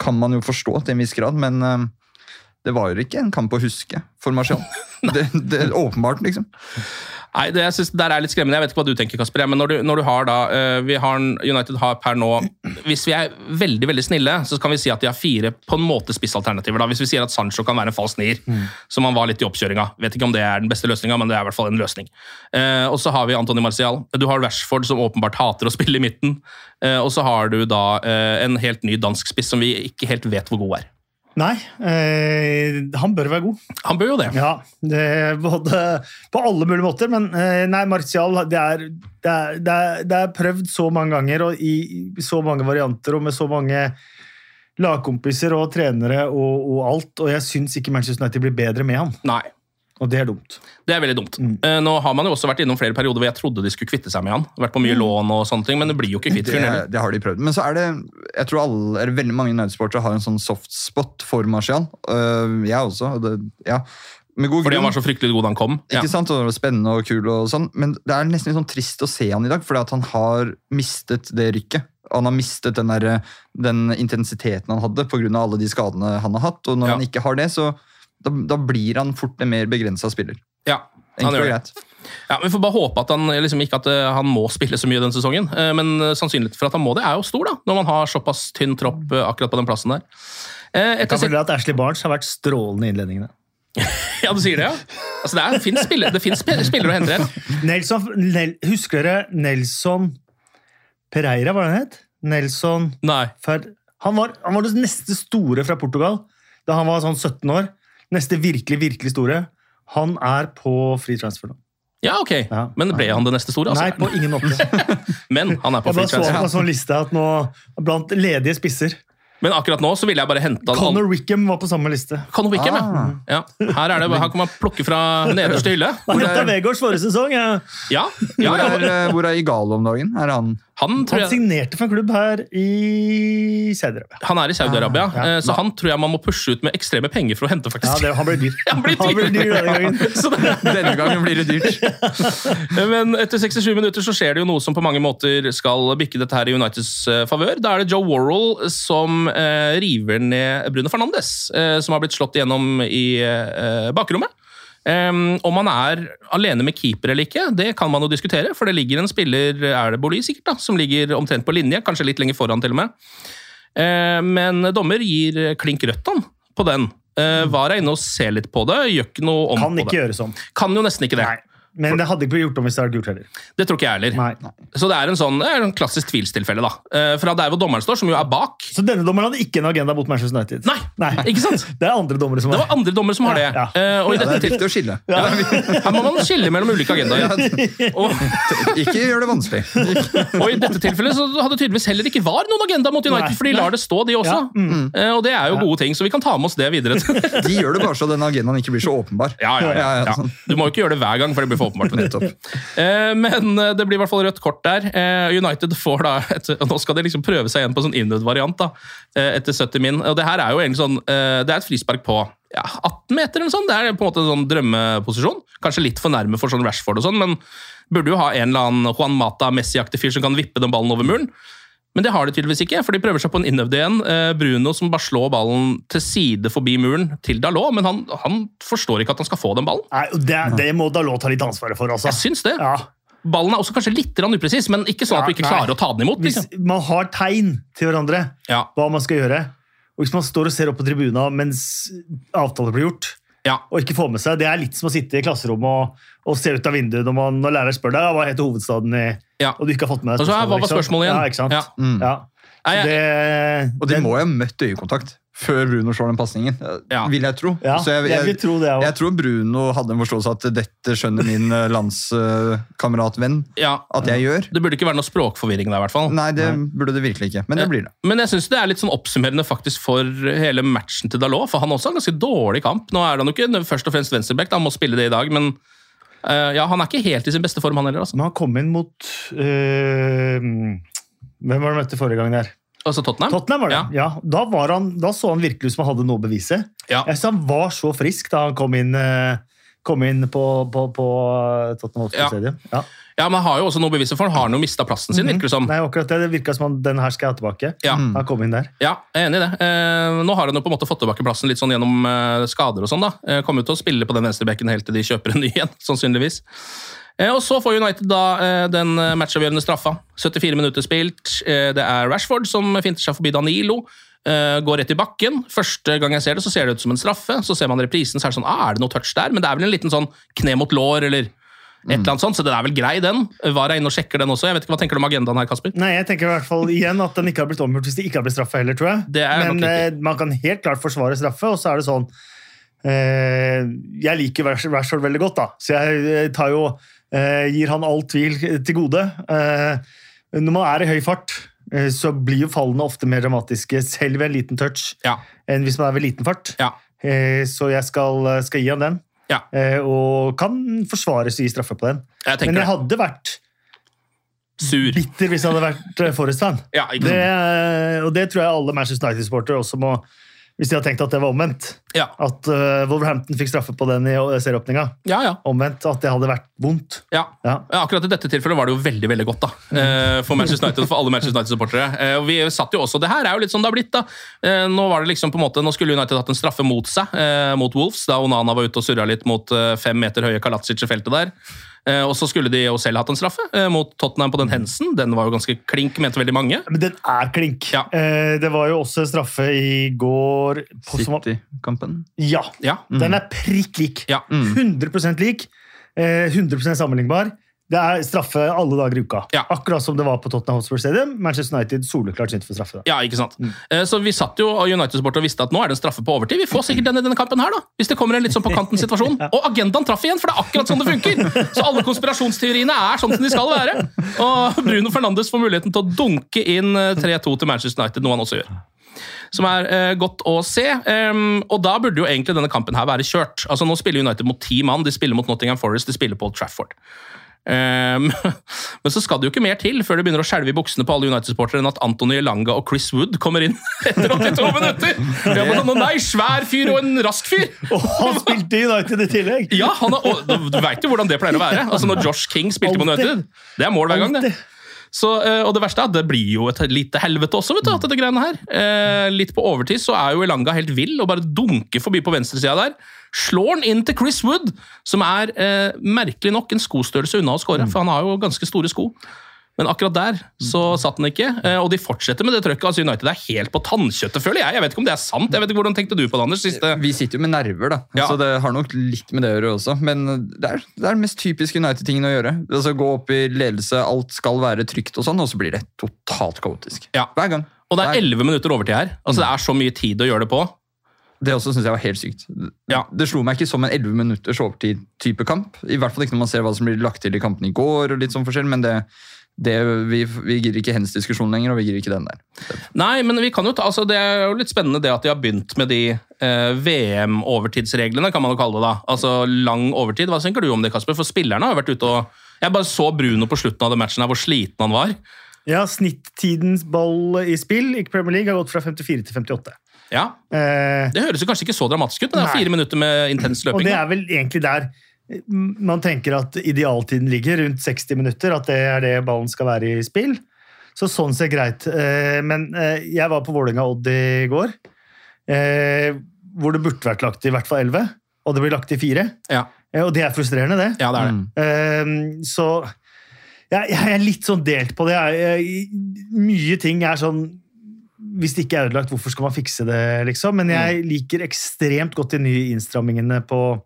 kan man jo forstå til en viss grad, men eh, det var jo ikke en kamp å huske for Marcial. det, det er åpenbart, liksom.
Nei, det, jeg synes det der er litt skremmende. Jeg vet ikke hva du tenker, Kasper. ja, Men når du, når du har da eh, vi har, en- United har per nå Hvis vi er veldig veldig snille, så kan vi si at de har fire på en måte spissalternativer. da. Hvis vi sier at Sancho kan være en falsk nier, som han var litt i oppkjøringa. Vet ikke om det er den beste løsninga, men det er i hvert fall en løsning. Eh, og så har vi Antony Martial. Du har Rashford, som åpenbart hater å spille i midten. Eh, og så har du da eh, en helt ny dansk spiss som vi ikke helt vet hvor god er.
Nei, eh, han bør være god.
Han bør jo det.
Ja, det, både på alle mulige måter, men eh, nei, Martial det er, det, er, det, er, det er prøvd så mange ganger og i i så mange varianter og med så mange lagkompiser og trenere og, og alt, og jeg syns ikke Manchester United blir bedre med han,
Nei.
og det er dumt.
Det er veldig
Mm.
dumt. Eh, Nå har man jo også vært innom flere perioder hvor jeg trodde de skulle kvitte seg med han. Vært på mye
Mm.
lån og sånne ting, men det blir jo ikke kvitt
Det,
fyren heller.
det har de prøvd. Men så er det jeg tror alle, eller veldig mange nødsportere har en sånn soft spot for Martial. Øh, jeg også. og Det, ja. Med god
Fordi han
grunn.
var så fryktelig god da han kom. Ja.
Ikke sant? Og det var spennende og kul og sånn. Men det er nesten litt sånn trist å se han i dag, fordi at han har mistet det rykket. Han har mistet den, derre- den intensiteten han hadde pga. alle de skadene han har hatt. Og når
Ja.
han ikke har det, så da, da blir han fort en mer begrensa spiller.
Ja, han gjør
Enkelt og
det.
greit.
Ja, Vi får bare håpe at han liksom ikke at eh, han må spille så mye denne sesongen. eh, Men eh, sannsynligheten for at han må det, er jo stor, da, når man har såpass tynn tropp eh, akkurat på den plassen der. Eh,
Jeg kan
Etter,
fortelle at Ashley Barnes har vært strålende i innledningene.
ja, du sier det, ja? Altså, det er- det finnes spillere, det finnes spe- spillere å hente her.
Nelson, Nel, husker dere Nelson Pereira, var det han het? Nelson
Nei.
Fer, han, var, han var det neste store fra Portugal da han var sånn 17 år. Neste virkelig, virkelig store. Han er på free transfer nå.
Ja, ok. Men ble han det neste store?
Nei,
Altså?
på ingen måte.
Men han er på
Jeg bare
free
så han på
transfer.
sånn liste at nå, blant ledige spisser
Men akkurat nå så ville jeg bare hente han
Connor Wickham var på samme liste.
Conor Wickham, ja. ja. Her, er det, her kan man plukke fra nederste hylle.
Han henta Vegårs forrige sesong. jeg-
Ja, ja,
Hvor er,
ja.
eh, hvor er Igalo om dagen? Er han
Han, tror
Han
jeg,
signerte for en klubb her i Saudi-Arabia.
han er i Saudi-Arabia,
Ja.
eh, så han tror jeg man må pushe ut med ekstreme penger for å hente,
Ja,
faktisk.
det, han ble dyr.
Han blir dyr. Sånn
denne gangen.
Så det,
Denne gangen blir det dyrt.
Men etter 67 minutter så skjer det jo noe som på mange måter skal bikke dette her i Uniteds eh, favør. Da er det Joe Worrell som eh, river ned Bruno Fernandes, eh, som har blitt slått igjennom i eh, bakrommet. Em, om han er alene med keeper eller ikke, det kan man jo diskutere. For det ligger en spiller, er det Boli sikkert, da, som ligger omtrent på linje, kanskje litt lenger foran til og med. Eh, Men dommer gir eh, klink rødt han på den. Eh, Var er inne og ser litt på det, gjør ikke noe om
Mm. Kan
på
ikke
det.
gjøre sånn.
Kan jo nesten ikke det.
Nei. Men det hadde ikke blitt gjort om hvis det hadde vært gjort heller.
Det tror ikke jeg heller.
Nei.
Så det er en sånn, det er en klassisk tvilstilfelle, da. Eh, Fra der hvor dommeren står, som jo er bak.
Så denne dommeren hadde ikke en agenda mot Manchester United?
Nei! Ikke sant?
Det er andre dommere som
Det var
har
andre dommere som har det.
Ja, ja.
Eh, Og i
Det
dette
er viktig å skille.
til- Her må man skille mellom ulike agendaer. Og,
Ikke gjør det vanskelig.
og i dette tilfellet så hadde tydeligvis heller ikke var noen agenda mot United,
Nei.
for de lar det stå, de også. Eh, Og det er jo gode ting, så vi kan ta med oss det videre.
De gjør det bare så denne agendaen ikke blir så åpenbar.
Ja, ja, ja, ja.
sånn.
Du må jo ikke gjøre det hver gang, for det blir for åpenbart.
Nettopp.
Eh, Men eh, det blir i hvert fall rødt kort der. Eh, United får da et, og Nå skal de liksom prøve seg igjen på en sånn innød-variant da, eh, etter 70 min. Og Det her er jo egentlig sånn, eh, det er et frispark på ja, 18 meter eller noe sånt. Det er på en måte en sånn drømmeposisjon. Kanskje litt for nærme for sånn Rashford og sånn, men burde jo ha en eller annen Juan Mata Messi-aktig fyr som kan vippe den ballen over muren. Men det har de tydeligvis ikke, for de prøver seg på en innøvd igjen. Eh, Bruno som bare slår ballen til side forbi muren til Dalot, men han, han forstår ikke at han skal få den ballen.
Nei, og det, det må Dalot ta litt ansvaret for, altså.
Jeg syns det.
Ja.
Ballen er også kanskje litt grann upresis, men ikke sånn at du ikke
Ja, nei.
klarer å ta den imot.
Hvis
Liksom.
man har tegn til hverandre
Ja,
hva man skal gjøre, og hvis man står og ser opp på tribuna mens avtaler blir gjort,
ja.
og ikke får med seg Det er litt som å sitte i klasserommet og, og se ut av vinduet når, man, når læreren spør deg «Ja, hva heter hovedstaden i
Ja.
Og du ikke har fått med
Og
deg
så er- hva var
ikke sant?
spørsmålet igjen?
Ja, ikke sant?
Ja.
Ja. Så
Nei, jeg-
Det,
Og de må jo ha møtt øyekontakt før Bruno slår den pasningen.
Ja.
Vil jeg tro.
Ja,
Så jeg,
jeg vil tro det også.
jeg tror Bruno hadde en forståelse at dette skjønner min eh, landskameratvenn
ja.
at jeg gjør.
Det burde ikke være noe språkforvirring der, i hvert fall.
Nei, det burde det virkelig ikke. Men det blir det.
Men jeg syns det er litt sånn oppsummerende faktisk for hele matchen til Dalot, for han også har en ganske dårlig kamp. Nå er han jo ikke først og fremst venstreback, da, han må spille det i dag, men eh, ja, han er ikke helt i sin beste form, han heller. Altså,
Men han kom inn mot øh, Hvem var det han møtte forrige gang der?
altså Tottenham.
Tottenham, var det?
Ja.
Ja. da, var han, da så han virkelig ut som han hadde noe å bevise.
Ja.
Jeg synes han var så frisk da han kom inn, øh, kom inn på, på, på eh, Tottenham Hotspur
Ja.
Stadium. Ja.
ja, men han har jo også noe bevis for, han har han jo mista plassen sin, virker det som.
Mhm. Nei, akkurat det. Det virka som han, den her skal jeg ha tilbake.
Ja.
Han kom inn der.
Ja, jeg er enig i det. Eh, nå har han jo på en måte fått tilbake plassen litt sånn gjennom eh, skader og sånn. da. Eh, kommer jo til å spille på den venstrebekken helt til de kjøper en ny igjen, sannsynligvis. Eh, og så får United da eh, den eh, matchavgjørende straffa. 74 minutter spilt. Eh, det er Rashford som finter seg forbi Danilo. eh, går rett i bakken. Første gang jeg ser det, så ser det ut som en straffe. Så ser man reprisen, så er det sånn ah, Er det noe touch der? Men det er vel en liten sånn kne mot lår, eller et
Mm.
eller annet sånt, så den er vel grei, den. Var er inne og sjekker den også. Jeg vet ikke, Hva tenker du om agendaen her, Kasper?
Nei, jeg tenker i hvert fall igjen at den ikke har blitt omgjort hvis det ikke har blitt straffa heller, tror jeg.
Det er
Men
nok
eh,
riktig.
man kan helt klart forsvare straffe, og så er det sånn eh, Jeg liker Rash- Rashford veldig godt, da, så jeg eh, tar jo eh, Gir han all tvil til gode. Eh, når man er i høy fart, eh, så blir jo fallene ofte mer dramatiske, selv ved en liten touch,
Ja.
enn hvis man er ved liten fart.
Ja.
Eh, så jeg skal, skal gi han den,
Ja.
eh, og kan forsvares og gi straffe på den.
Jeg
Men
tenker
jeg hadde vært
det. Sur.
bitter hvis jeg hadde vært eh, Forrest-fan.
Ja, ikke sant?
Det, og det tror jeg alle Manchester United-supportere også må Hvis de hadde tenkt at det var omvendt. At eh, Wolverhampton fikk straffe på den i eh, serieåpninga. Omvendt. At det hadde vært vondt.
Ja. Ja, akkurat i dette tilfellet var det jo veldig veldig godt da, Eh, for Manchester United og for alle Manchester United-supportere. Eh, og Vi satt jo også, Det her er jo litt sånn det har blitt. da. Eh, Nå var det liksom på en måte, nå skulle United hatt en straffe mot seg, eh, mot Wolves, da Onana var ute og surra litt mot eh, fem meter høye Kalatsic i feltet der. Eh, Og så skulle de jo selv hatt en straffe eh, mot Tottenham på den Hensen. Den var jo ganske klink, mente veldig mange.
Men den er klink. Eh, det var jo også en straffe i går på- som var-
City-kampen.
Ja.
Mm.
Den er prikk lik. 100 lik. eh, 100 sammenlignbar. Det er straffe alle dager i uka. Akkurat som det var på Tottenham Hotspur Stadium. Manchester United soleklart skyndte for straffe.
Ja, ikke sant? Eh, Så vi satt jo og United-supportere og visste at nå er det en straffe på overtid. Vi får sikkert den i denne kampen her, da. Hvis det kommer en litt sånn på kanten situasjon. Og agendaen traff igjen, for det er akkurat sånn det funker! Så alle konspirasjonsteoriene er sånn som de skal være. Og Bruno Fernandes får muligheten til å dunke inn eh, 3-2 til Manchester United, noe han også gjør. Som er eh, godt å se. Ehm, og da burde jo egentlig denne kampen her være kjørt. Altså Nå spiller United mot ti mann, de spiller mot Nottingham Forest, de spiller på Old Trafford. Ehm, men så skal det jo ikke mer til før det begynner å skjelve i buksene på alle United-supportere enn at Antony Elanga og Chris Wood kommer inn etter 82 minutter! Det er bare sånn, «Å nei, svær fyr og en rask fyr!
Og han spilte i United i tillegg!
Ja, han har, og, Du veit jo hvordan det pleier å være. Altså Når Josh King spilte på
Alltid.
United. Det er mål hver gang, det. Så, eh, og det verste er at det blir jo et lite helvete også, vet du. at dette greiene her. Eh, litt på overtid så er jo Elanga helt vill og bare dunker forbi på venstresida der. Slår han inn til Chris Wood, som er eh, merkelig nok en skostørrelse unna å skåre, for han har jo ganske store sko. Men akkurat der så satt den ikke, eh, og de fortsetter med det trøkket. Altså United er helt på tannkjøttet, føler jeg. Jeg vet ikke om det er sant. Jeg vet ikke Hvordan tenkte du på det, Anders? Siste...
Vi sitter jo med nerver, da. Så det har nok litt med det å gjøre også. Men det er, det er den mest typiske United-tingen å gjøre. Altså Gå opp i ledelse, alt skal være trygt og sånn, og så blir det totalt kaotisk. Hver gang.
Og det er elleve minutter overtid her. Altså Det er så mye tid å gjøre det på.
Det også synes jeg var helt sykt. Det slo meg ikke som en 11 minutters overtid-type kamp. I hvert fall ikke når man ser hva som blir lagt til i kampen i går, og litt sånn forskjell, men det, det, vi, vi gir ikke hens diskusjon lenger, og vi gir ikke den der.
Nei, men vi kan jo ta, altså det er jo litt spennende det at de har begynt med de eh, VM-overtidsreglene, kan man jo kalle det da. Altså lang overtid. Hva tenker du om det, Kasper? For spillerne har jo vært ute og Jeg bare så Bruno på slutten av den matchen her, hvor sliten han var.
Ja, Snittidens ball i spill i Premier League har gått fra 54 til 58.
Ja. Det høres jo kanskje ikke så dramatisk ut, men det er
Nei.
fire minutter med intens løping.
Og det
da.
er vel egentlig der eh, man tenker at idealtiden ligger, rundt 60 minutter. At det er det ballen skal være i spill. Så sånn ser greit. Eh, Men eh, jeg var på Vålerenga Odd i går, eh, hvor det burde vært lagt i hvert fall 11, og det blir lagt i 4. Eh, Og det er frustrerende, det. Mm.
Ja, det er det.
Mm.
Eh, Så jeg jeg er litt sånn delt på det. Jeg- jeg- Mye ting er sånn hvis det ikke er ødelagt, hvorfor skal man fikse det, liksom? Men jeg
Mm.
liker ekstremt godt de nye innstrammingene på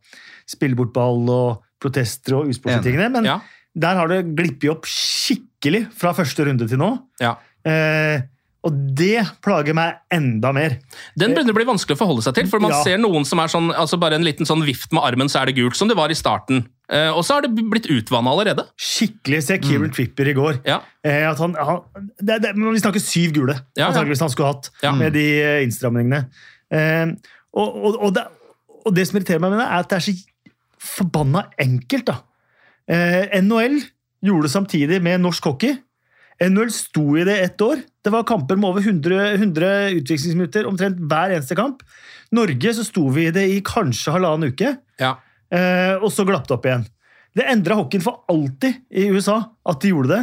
spille bort ball og protester og usportslige
Enig.
tingene, men
Ja.
der har det glippet opp skikkelig fra første runde til nå.
Ja.
Eh, og det plager meg enda mer.
Den begynner å bli vanskelig å forholde seg til, for man
Ja.
ser noen som er sånn, altså bare en liten sånn vift med armen, så er det gult, som det var i starten. Eh, og så har det blitt utvanna allerede.
Skikkelig se Kieran
Mm.
Tripper i går. Eh, at han, han, det, det, men vi snakker syv gule,
Ja, ja.
antakeligvis han skulle hatt,
Ja.
med de eh, innstramningene. Eh, og, og, og, det, og det som irriterer meg med det, er at det er så forbanna enkelt, da. Eh, NHL gjorde det samtidig med norsk hockey. NHL sto i det ett år. Det var kamper med over 100, 100 utviklingsminutter omtrent hver eneste kamp. Norge så sto vi i det i kanskje halvannen uke.
Ja.
Eh, og så glapp det opp igjen. Det endra hockeyen for alltid i USA, at de gjorde det.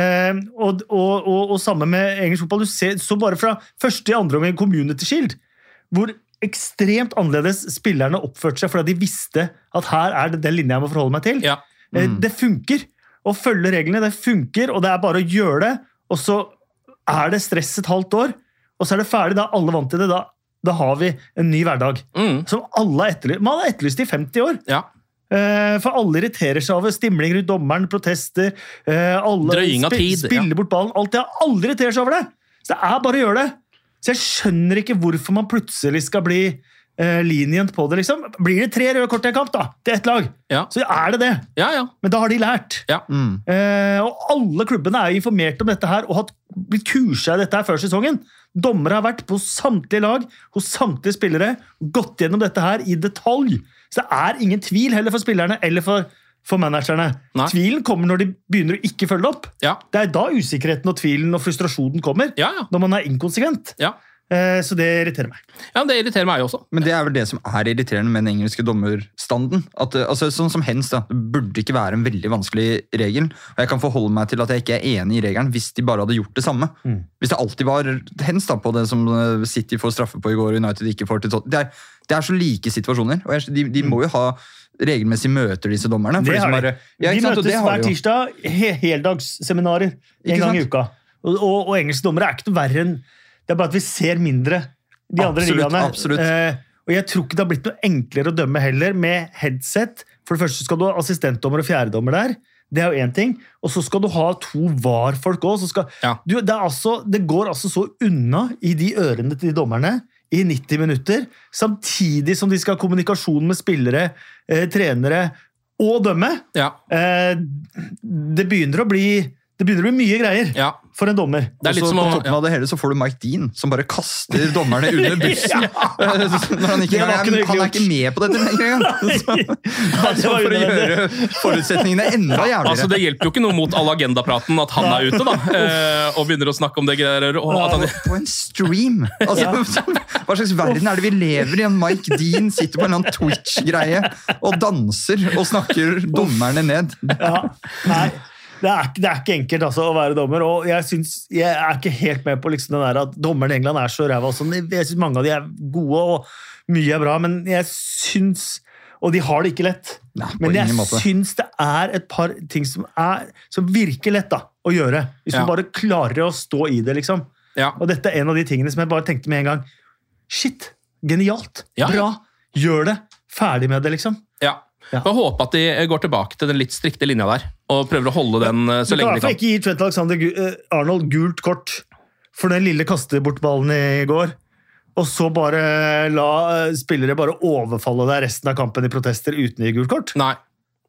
Eh, og, og, og, og samme med engelsk fotball. Du ser, så bare fra første i andre omgang Community Shield, hvor ekstremt annerledes spillerne oppførte seg fordi de visste at her er det den linja jeg må forholde meg til. Eh,
Mm.
Det funker å følge reglene, det funker, og det er bare å gjøre det. Og så er det stress et halvt år, og så er det ferdig. Da er alle vant til det. Da, da har vi en ny hverdag.
Mm.
Som alle har etterlyst. Man har etterlyst det i 50 år. Eh, For alle irriterer seg over stimling rundt dommeren, protester eh, alle
Drøying av tid, ja.
Spiller bort ballen. Alt det. Alle irriterer seg over det! Så det er bare å gjøre det. Så jeg skjønner ikke hvorfor man plutselig skal bli eh, lenient på det. liksom. Blir det tre røde kort i en kamp, da, til ett lag, så er det det. Men da har de lært.
Mm.
Eh, og alle klubbene er jo informert om dette her og har blitt kursa i dette her før sesongen. Dommere har vært på samtlige lag hos samtlige spillere gått gjennom dette her i detalj. Så det er ingen tvil heller for spillerne eller for, for managerne. Tvilen kommer når de begynner å ikke følge opp. Det er da usikkerheten og tvilen og frustrasjonen kommer. Når man er inkonsekvent. Eh, Så det irriterer meg.
Ja, Det irriterer meg også.
Men det er vel det som er irriterende med den engelske dommerstanden. At, eh, altså, sånn som hens, da, det burde ikke være en veldig vanskelig regel. Og jeg kan forholde meg til at jeg ikke er enig i regelen hvis de bare hadde gjort det samme.
Mm.
Hvis det alltid var hens da, på det som eh, City får straffe på i går og United ikke får til Tot- det er, det er så like situasjoner. og jeg, De, de må jo ha regelmessig møter, disse dommerne. for
Mm. Det har
som
de.
bare- Ja,
de
ikke sant, og
møtes
det har
hver
de jo.
tirsdag, he heldagsseminarer en
Ikke
gang i
sant?
uka. Og, og, og engelske dommere er ikke noe verre enn Det er bare at vi ser mindre de andre
Absolutt,
ligaene.
absolutt.
Eh, og jeg tror ikke det har blitt noe enklere å dømme heller, med headset. For det første skal du ha assistentdommer og fjerdedommer der. Det er jo én ting. Og så skal du ha to VAR-folk òg.
Ja.
Du, det, er altså, det går altså så unna i de ørene til de dommerne i 90 minutter, samtidig som de skal ha kommunikasjon med spillere, eh, trenere og dømme.
Ja,
Eh, det, begynner å bli, det begynner å bli mye greier
ja.
for en dommer.
Det er
Og
litt
så
som
på
å
toppen av det hele så får du Mike Dean, som bare kaster dommerne under bussen. Når han, ikke engang,
Det var ikke noe
er- han er ikke med på dette engang! Så-
det
Altså,
var
for å
unødvendig.
gjøre forutsetningene enda jævligere.
Altså, Det hjelper jo ikke noe mot all agendapraten at han er ute da, eh, og begynner å snakke om det greier. Og at han,
på en stream! Altså, Hva slags verden er det vi lever i? En Mike Dean sitter på en eller annen Twitch-greie og danser og snakker dommerne ned.
Ja, nei, det er, ikke- det er ikke enkelt altså, å være dommer, og jeg, syns- jeg er ikke helt med på liksom, den der at dommerne i England er så ræva. og sånn. Jeg syns mange av de er gode, og mye er bra, men jeg syns Og de har det ikke lett.
Nei, på
men jeg
ingen måte.
syns det er et par ting som, er, som virker lett da, å gjøre, hvis
Ja.
du bare klarer å stå i det, liksom.
ja.
Og dette er en av de tingene som jeg bare tenkte med en gang. Shit! Genialt!
Ja.
Bra! Gjør det! Ferdig med det, liksom.
Ja.
Ja.
Jeg håper at de går tilbake til den litt strikte linja der, og prøver å holde den eh, så
du kan i
lenge
hvert fall
de kan.
ikke gi Trent Alexander Gu- eh, Arnold gult kort for den lille kastebortballen i går. Og så bare la eh, spillere bare overfalle deg resten av kampen i protester uten å gi gult kort. Eh,
Nei,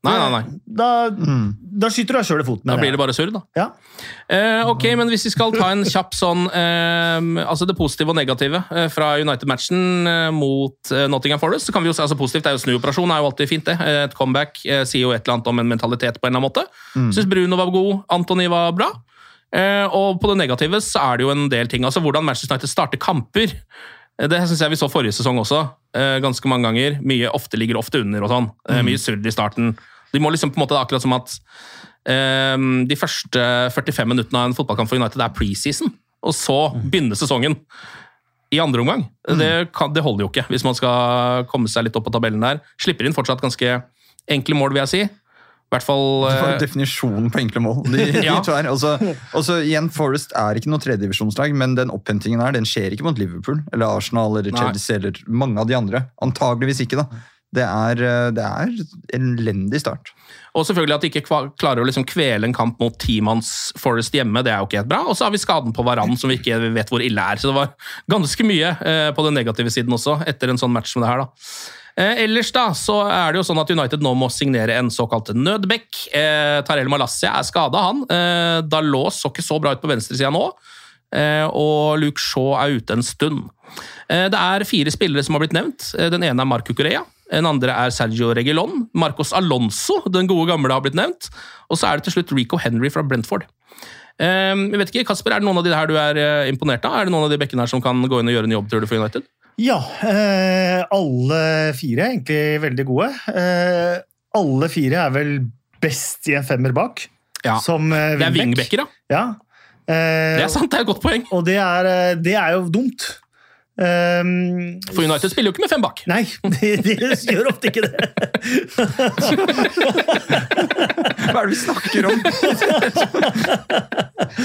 nei, nei. nei.
Da, da skyter du deg sjøl i foten.
Da
mener
blir
jeg.
det bare surr, da.
Ja.
Eh, ok,
Mm.
men hvis vi skal ta en kjapp sånn eh, Altså det positive og negative eh, fra United-matchen eh, mot eh, Nottingham Forest, så kan vi jo si altså positivt det er jo snuoperasjon, er jo alltid fint, det. Eh, Et comeback eh, sier jo et eller annet om en mentalitet på en eller annen måte.
Mm.
Syns Bruno var god, Antony var bra. Eh, og på det negative så er det jo en del ting. Altså hvordan Manchester United starter kamper. Eh, Det syns jeg vi så forrige sesong også. eh, Ganske mange ganger. Mye ofte ligger ofte under og sånn. Eh,
Mm.
Mye surr i starten. De må liksom på en måte, det er akkurat som at Ehm, de første 45 minuttene av en fotballkamp for United er preseason, og så
Mm.
begynner sesongen i andre omgang. Det, kan, det holder jo ikke hvis man skal komme seg litt opp på tabellen der. Slipper inn fortsatt ganske enkle mål, vil jeg si. I hvert fall
Det var
eh,
jo definisjonen på enkle mål. De,
Ja.
de to her. Og så- og så igjen, Forest er ikke noe tredjedivisjonslag, men den opphentingen her, den skjer ikke mot Liverpool eller Arsenal eller
Nei.
Chelsea eller mange av de andre. Antageligvis ikke, da. Det er, eh, det er en elendig start.
Og selvfølgelig at de ikke kva- klarer å liksom kvele en kamp mot timanns Forest hjemme, det er jo ikke helt bra. Og så har vi skaden på Varan, som vi ikke vet hvor ille er. Så det var ganske mye eh, på den negative siden også, etter en sånn match som det her, da. Eh, ellers da, så er det jo sånn at United nå må signere en såkalt nødbekk. Eh, Tarell Malassia er skada, han. Eh, Dalot så ikke så bra ut på venstresida nå. Eh, og Luke Shaw er ute en stund. Eh, Det er fire spillere som har blitt nevnt. Eh, Den ene er Marco Curea. Den andre er Sergio Regilon. Marcos Alonso, den gode gamle, har blitt nevnt. Og så er det til slutt Rico Henry fra Brentford. Eh, Jeg vet ikke, Kasper, er det noen av de her du er eh, imponert av? Er det noen av de bekkene her som kan gå inn og gjøre en jobb, tror du, for United?
Ja, eh, alle fire er egentlig veldig gode. Eh, alle fire er vel best i en femmer bak.
Ja.
Som eh,
Det er
wingback.
wingbacker, ja.
Ja. Eh,
Det er sant, det er et godt poeng.
Og det er, eh, det er jo dumt. Um,
For United spiller jo ikke med fem bak.
Nei, de, de gjør ofte ikke det.
Hva er det vi snakker om?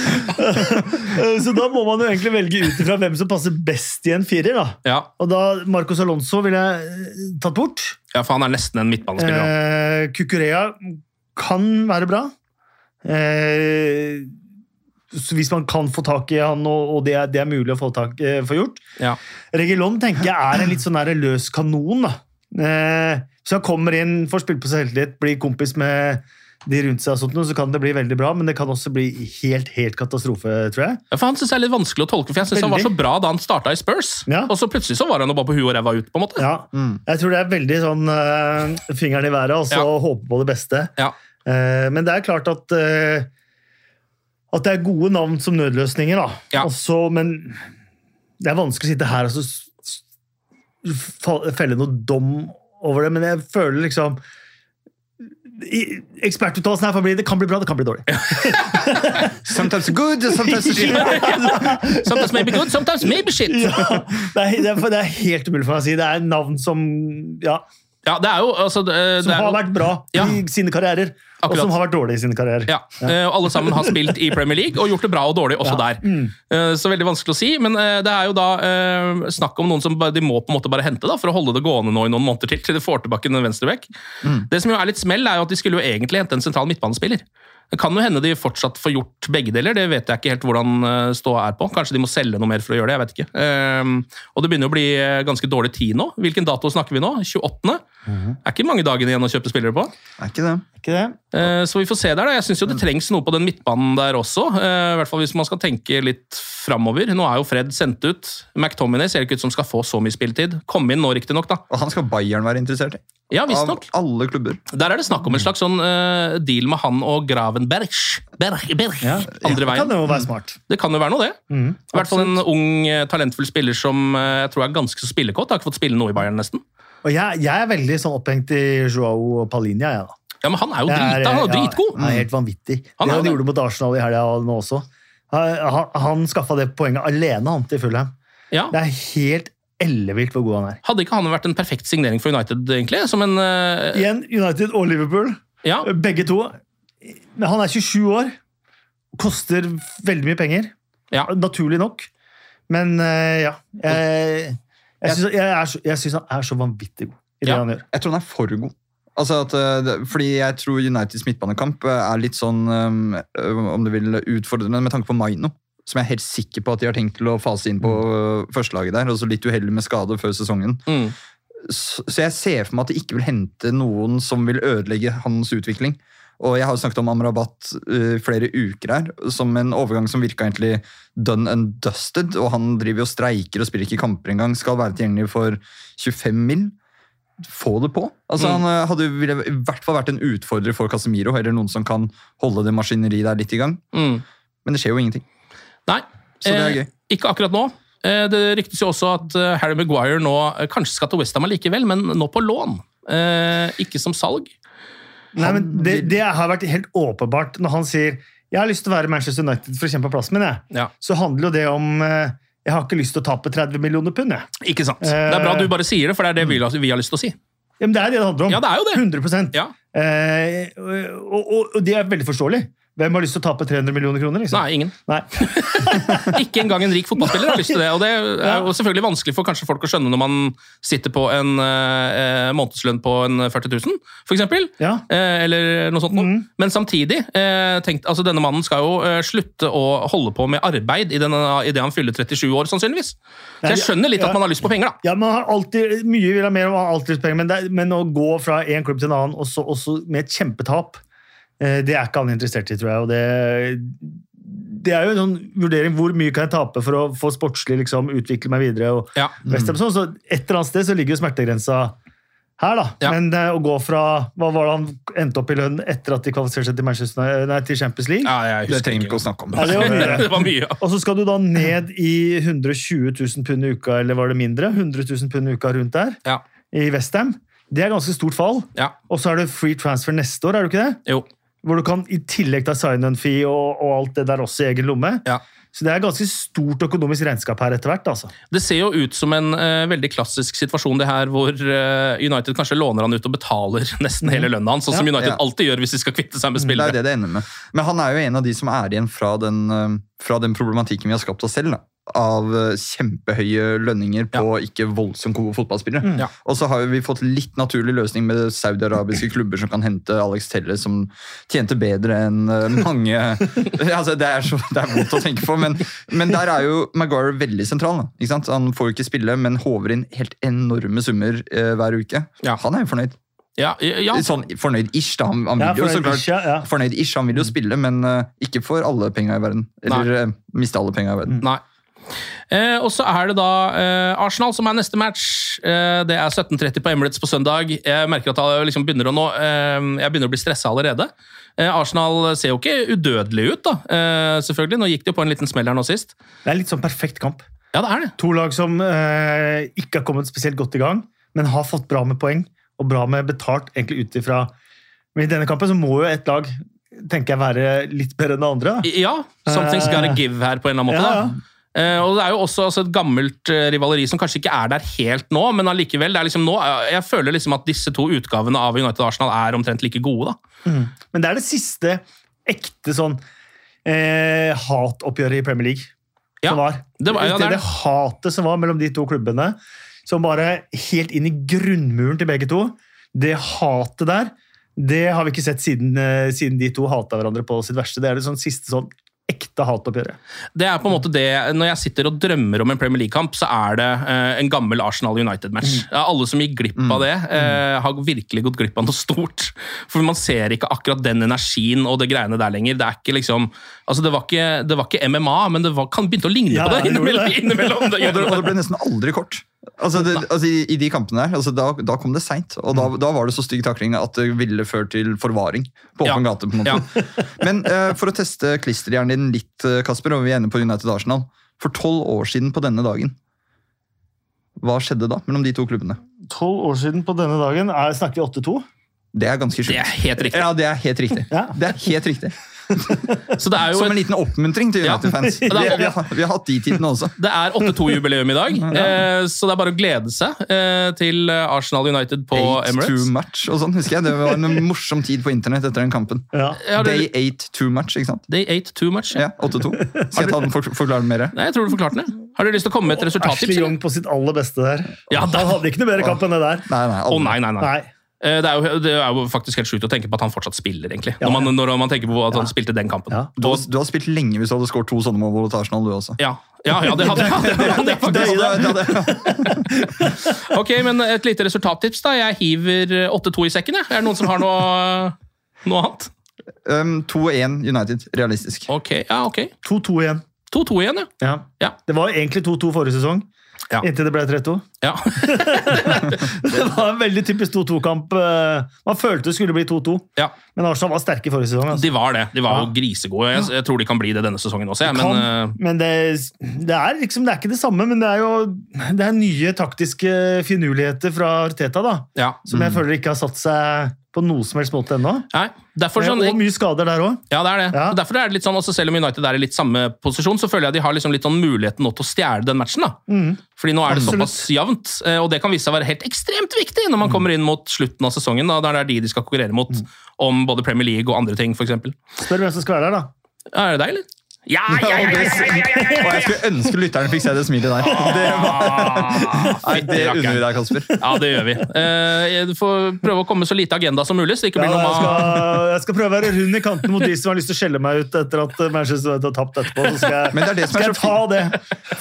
Eh, Så da må man jo egentlig velge ut ifra hvem som passer best i en firer. da.
Ja,
Og da Marcos Alonso ville jeg eh, tatt bort.
ja for han er nesten en midtbanespiller. da.
Eh, Kukurea kan være bra. Eh, så hvis man kan få tak i han, og, og det, er, det er mulig å få, tak, eh, få gjort.
Ja.
Regilon tenker jeg er en litt sånn der løs kanon. da. Eh, så han kommer inn, får spilt på seg selvtillit, blir kompis med de rundt seg, og sånt, noe, så kan det bli veldig bra, men det kan også bli helt, helt katastrofe, tror jeg.
Ja, For Han synes jeg er litt vanskelig å tolke, for jeg synes han var så
Veldig.
bra da han starta i Spurs.
Ja.
Og så plutselig så var han jo bare på huet og ræva ut, på en måte.
Ja. Jeg tror det er veldig sånn eh, fingeren i været, og så
Ja.
håpe på det beste.
Ja.
Eh, men det er klart at eh, at det er gode navn som nødløsninger, da.
Ja.
Og så- men Det er vanskelig å sitte her og så s- s- fa- felle noen dom over det, men jeg føler liksom i- Ekspertuttalelsen her får bli det kan bli bra, det kan bli dårlig.
Sometimes good, sometimes shit.
Sometimes maybe good, sometimes maybe shit.
Ja, det, er, det, er, det er helt umulig for meg å si. Det er navn som ja,
Ja, det er jo altså, det,
som
det er,
har
jo-
vært bra
Ja.
i sine karrierer, og
Akkurat.
som har vært dårlige i sine karrierer.
Ja, eh, og alle sammen har spilt i Premier League og gjort det bra og dårlig også der. Eh, Så veldig vanskelig å si, men eh, det er jo da eh, snakk om noen som bare, de må på en måte bare hente da, for å holde det gående nå i noen måneder til, til de får tilbake den venstrebekk. Det som jo er litt smell, er jo at de skulle jo egentlig hente en sentral midtbanespiller. Det kan jo hende de fortsatt får gjort begge deler, det vet jeg ikke helt hvordan eh, ståa er på. Kanskje de må selge noe mer for å gjøre det, jeg vet ikke. Eh, Og det begynner å bli eh, ganske dårlig tid nå. Hvilken dato snakker vi nå? 28. Er ikke mange dagene igjen å kjøpe spillere på.
Er ikke det.
Ikke det?
Eh, Så vi får se der. da. Jeg syns
Mm.
det trengs noe på den midtbanen der også. eh, I hvert fall hvis man skal tenke litt framover. Nå er jo Fred sendt ut. McTominay ser ikke ut som skal få så mye spilletid. Kom inn nå, riktignok, da.
Og han skal Bayern være interessert i.
Ja,
Av
visstnok.
alle klubber.
Der er det snakk om
Mm.
en slags sånn eh, deal med han og Gravenberg. Berg, berg, andre
Kan
veien.
det jo være Mm, smart.
Det kan jo være noe, det. I hvert fall en ung, eh, talentfull spiller som eh, jeg tror er ganske så spillekåt. Har ikke fått spille noe i Bayern, nesten.
Og jeg, jeg er veldig sånn opphengt i Joao Palinia. Jeg, da.
Ja, Men han er jo
Jeg er-
drita. Han er jo
ja,
dritgod.
Han er helt vanvittig.
Han
det
er
han
det.
gjorde mot Arsenal i helga og nå også. Han, han- han skaffa det poenget alene han til Fulham.
Ja.
Det er helt ellevilt hvor god han er.
Hadde ikke han vært en perfekt signering for United, egentlig? Som en eh,
Igjen United og Liverpool,
Ja.
begge to. Men han er 27 år. Koster veldig mye penger.
Ja.
Naturlig nok. Men eh, ja Jeg, jeg syns jeg er så- jeg syns han er så vanvittig god i det
Ja.
han gjør.
Jeg tror han er for god. Altså at, eh, det- fordi jeg tror Uniteds midtbanekamp eh, er litt sånn um, eh, om du vil utfordrende med tanke på Maino. Som jeg er helt sikker på at de har tenkt til å fase inn på eh, førstelaget der. Og så litt uheldig med skade før sesongen.
Mm.
Så så jeg ser for meg at de ikke vil hente noen som vil ødelegge hans utvikling. Og jeg har jo snakket om Amrabat eh, flere uker her, som en overgang som virka egentlig done and dusted. Og han driver og streiker og spiller ikke kamper engang. Skal være tilgjengelig for 25 mil. Få det på. Altså,
Mm.
Han eh, hadde, ville i hvert fall vært en utfordrer for Casemiro, eller noen som kan holde det maskineriet der litt i gang.
Mm.
Men det skjer jo ingenting.
Nei.
Så det er gøy.
Eh, ikke akkurat nå. Eh, det ryktes jo også at eh, Harry Maguire nå eh, kanskje skal til Westham likevel, men nå på lån. Eh, ikke som salg.
Nei, men det, det har vært helt åpenbart når han sier jeg har lyst til å være i Manchester United for å kjempe om plassen min. Jeg.
Ja.
Så handler jo det om eh, jeg har ikke lyst til å tape 30 millioner pund. Jeg.
Ikke sant? det er bra du bare sier det, for det er det vi, vi har lyst til å si.
Ja, men det er det det handler om.
Ja, det er jo det.
100
Ja.
Eh, og, og, og det er veldig forståelig. Hvem har lyst til å tape 300 millioner kroner? Liksom?
Nei, ingen.
Nei.
Ikke engang en rik fotballspiller har lyst til det. Og det er jo selvfølgelig vanskelig for kanskje folk å skjønne når man sitter på en eh, eh, månedslønn på en 40 000, for eksempel.
Ja.
Eh, eller noe sånt. noe.
Mm.
Men samtidig, eh, tenk, altså denne mannen skal jo eh, slutte å holde på med arbeid i, denne, i det han fyller 37 år, sannsynligvis. Så jeg skjønner litt
ja.
at man har lyst på penger, da.
Ja, man har alltid, Mye vil ha mer, og man har alltid lyst på penger, men, det, er- men å gå fra én klubb til en annen, også, også med et kjempetap, eh, det er ikke han interessert i, tror jeg. og det... Det er jo en sånn vurdering hvor mye kan jeg tape for å få sportslig liksom, utvikle meg videre. og
Ja. Mm.
West Ham sånn, så Et eller annet sted så ligger jo smertegrensa her, da.
Ja.
Men eh, å gå fra Hva var det han endte opp i lønn etter at de kvalifiserte seg til, Manchester, nei, til Champions League?
Ja, jeg
Det
husker
trenger vi ikke å snakke om.
Ja, det var mye.
det var mye. ja.
Og så skal du da ned i 120 000 pund i uka, eller var det mindre? 100 000 pund i uka rundt der,
Ja.
i Westham. Det er ganske stort fall.
ja.
Og så er det free transfer neste år, er det ikke det?
Jo.
Hvor du kan i tillegg ta sign-on-fee og, og alt det der også i egen lomme.
Ja.
Så det er ganske stort økonomisk regnskap her etter hvert, altså.
Det ser jo ut som en eh, veldig klassisk situasjon, det her hvor eh, United kanskje låner han ut og betaler nesten hele lønna hans, sånn som United
Mm. Ja. Mm,
alltid gjør hvis de skal kvitte seg med
Det er
spillere.
jo det det ender med. Men han er jo en av de som er igjen fra den, eh, fra den problematikken vi har skapt oss selv. Da. Av eh, kjempehøye lønninger på ikke voldsomt gode fotballspillere.
Mm. Ja.
Og så har jo vi fått litt naturlig løsning med saudiarabiske klubber som kan hente Alex Telle, som tjente bedre enn eh, mange altså, det, er så, det er vondt å tenke på, men, men der er jo Maguire veldig sentral. Da, ikke sant? Han får jo ikke spille, men håver inn helt enorme summer eh, hver uke.
Ja.
Han er jo fornøyd.
Ja, ja,
Sånn fornøyd-ish, da. Han, han
Ja,
vil jo så
fornøyd
klart
ish, ja, ja.
fornøyd ish. Han
Mm.
vil jo spille, men eh, ikke for alle penga i verden. Eller eh, miste alle penga i verden.
Nei. Eh, og så er det da eh, Arsenal som er neste match. Eh, det er 17.30 på Emirates på søndag. Jeg merker at jeg liksom begynner å nå eh, Jeg begynner å bli stressa allerede. Eh, Arsenal ser jo ikke udødelig ut, da. Eh, selvfølgelig. Nå gikk de jo på en liten smell her nå sist.
Det er litt sånn perfekt kamp.
Ja, det er det.
To lag som eh, ikke har kommet spesielt godt i gang, men har fått bra med poeng og bra med betalt, egentlig ut ifra Men i denne kampen så må jo et lag tenker jeg, være litt bedre enn det andre. da.
I- Ja, something's gotta give her på en eller annen måte.
Ja, ja.
da. Eh, og Det er jo også altså, et gammelt eh, rivaleri som kanskje ikke er der helt nå, men allikevel. det er liksom nå, eh, Jeg føler liksom at disse to utgavene av United og Arsenal er omtrent like gode. da.
Mm. Men det er det siste ekte sånn eh, hatoppgjøret i Premier League
Ja,
som var.
det var- ja, det
det,
er det.
hatet som var mellom de to klubbene, som bare helt inn i grunnmuren til begge to. Det hatet der, det har vi ikke sett siden, eh, siden de to hata hverandre på sitt verste. Det er det sånn siste sånn ekte hatoppgjøret.
Det er på en måte det, Når jeg sitter og drømmer om en Premier League-kamp, så er det eh, en gammel Arsenal United-match. Ja, Alle som gikk glipp av det, eh, har virkelig gått glipp av noe stort. For man ser ikke akkurat den energien og det greiene der lenger. Det er ikke liksom, altså det var ikke, det var ikke MMA, men det var, kan begynte å ligne
Ja,
på det
det gjorde
innimellom.
det.
innimellom det,
Og det, og det ble nesten aldri kort. Altså, det, altså i, I de kampene der, altså da, da kom det seint. Og da,
Mm.
da var det så stygg takling at det ville ført til forvaring på åpen
Ja.
gate. på en måte. Men eh, for å teste klisterhjernen din litt, eh, Kasper, og vi er inne på United Arsenal. For tolv år siden på denne dagen, hva skjedde da mellom de to klubbene?
Tolv år siden på denne dagen er, snakker vi 8-2.
Det er ganske
Det
sjukt.
er helt riktig.
Ja, det er helt riktig.
Ja.
Det er helt riktig.
Så det er jo
Som en
et,
liten oppmuntring til
Ja.
United-fans. Vi,
Ja, det er-
vi, har- vi har hatt de tidene også.
det er 8-2-jubileum i dag, eh, så det er bare å glede seg eh, til Arsenal United på
Eight too
Emirates.
much og sånn, husker jeg. Det var en morsom tid på internett etter den kampen.
Ja.
Ja,
Day
det-
eight too much, ikke sant?
They ate too much.
Ja, 8-2. Skal jeg ta den for, forklare den mer?
Nei, jeg tror du forklarte det. Har du lyst til å komme med et resultattips?
Ashley
eller?
Young på sitt aller beste der.
Ja, da-
Han hadde ikke noe bedre kamp enn det der.
Nei, nei,
Å
aldri.
nei, nei, nei.
Nei.
Eh, Det er, jo, det er jo faktisk helt sjukt å tenke på at han fortsatt spiller, egentlig. Når man, når man tenker på at han spilte den kampen.
Ja.
Du,
Og-
har, du har spilt lenge hvis du hadde skåret to sånne mål mot Arsenal, du også.
ja. Ja, ja, det hadde jeg. Det hadde jeg faktisk.
Ja, det- det- det-
Ok, men et lite resultattips, da. Jeg hiver eh, 8-2 i sekken, jeg. Er det noen som har noe, noe annet?
Um, 2-1 United, realistisk.
Ok, ja, ok.
2-2 igjen.
2-2 igjen, ja.
Ja.
Ja.
Det var jo egentlig 2-2 forrige sesong,
Ja.
inntil det ble 3-2.
ja.
Det var en veldig typisk 2-2-kamp. eh, Man følte det skulle bli 2-2,
ja.
men Arsenal var sterke forrige sesong. Altså.
De var det. De var jo
Ja.
grisegode. Jeg, jeg tror de kan bli det denne sesongen også, jeg. Men eh,
Kan, men det, det, er liksom, det er ikke det samme, men det er jo det er nye taktiske finurligheter fra Arteta da,
ja.
som jeg føler ikke har satt seg på noe som helst måte ennå.
Nei, derfor sånn,
Og mye skader der òg.
Ja, det er det.
Ja.
Og Derfor er det litt sånn, altså Selv om United er i litt samme posisjon, så føler jeg de har liksom litt sånn muligheten nå til å stjele den matchen. da. Fordi nå er det
Mm. Absolutt. Mm.
såpass jevnt, eh, og det kan vise seg å være helt ekstremt viktig når man kommer inn mot slutten av sesongen. da, Der det er de de skal konkurrere mot om både Premier League og andre ting, f.eks.
Spør hvem som skal være der, da.
Er det deg, eller? Ja, ja, ja, ja, ja, ja, ja,
Og jeg skulle ønske lytterne fikk se det smilet der. Det,
ja.
nei, det unner vi deg, Kasper.
Ja, det gjør vi. Eh, Du får prøve å komme så lite agenda som mulig. så det ikke blir
Ja,
noe
jeg,
ma-
skal, jeg skal prøve å være rund i kanten mot de som har lyst til å skjelle meg ut etter at Manchester United har tapt etterpå. Så skal jeg,
Men det er det som
skal
er
jeg ta
så
det.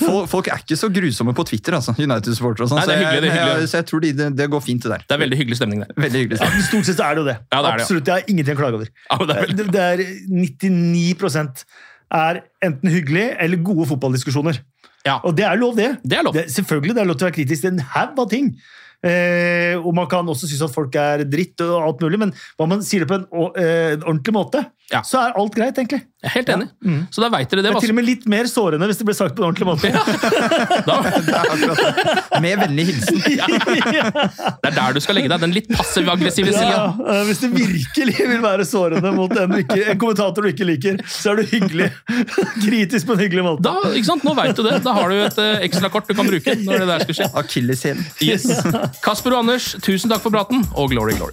Folk, folk er ikke så grusomme på Twitter, altså. United-supportere og sånn.
Nei, det er hyggelig, det er
så jeg-
hyggelig.
Så jeg tror de- det, det går fint, det der.
Det er veldig hyggelig stemning der.
Veldig hyggelig. sagt.
Stort sett så er det jo det.
Ja, det er det, ja.
Absolutt, Jeg har ingenting å klage over.
Ja, men det er
Det, det er 99 er enten hyggelig eller gode fotballdiskusjoner.
Ja.
Og det er lov, det.
Det er lov.
selvfølgelig det er lov til å være kritisk til en haug av ting. Eh, og man kan også synes at folk er dritt og alt mulig, men hva man sier det på en å- eh, en ordentlig måte,
Ja.
så er alt greit, egentlig.
Jeg er helt enig. Så da veit dere det.
Det er
hva
Mm. til og med litt mer sårende hvis det blir sagt på en ordentlig måte.
som-
Det er akkurat det. Med vennlig hilsen.
Det er der du skal legge deg. Den litt passiv-aggressive sida.
Ja, eh, hvis det virkelig vil være sårende mot en, du ikke, en kommentator du ikke liker, så er du hyggelig. Kritisk på en hyggelig måte.
Da, ikke sant? Nå vet du det. Da har du et eh, ekstrakort du kan bruke. når det der skal skje.
Akilleshælen.
Yes. Kasper og Anders, tusen takk for praten, og glory, glory.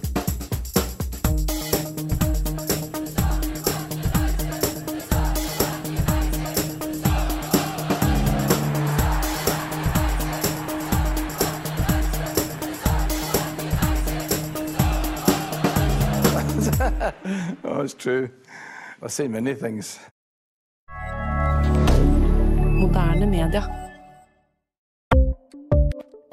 Oh, it's true. I've seen many things.
Moderne media.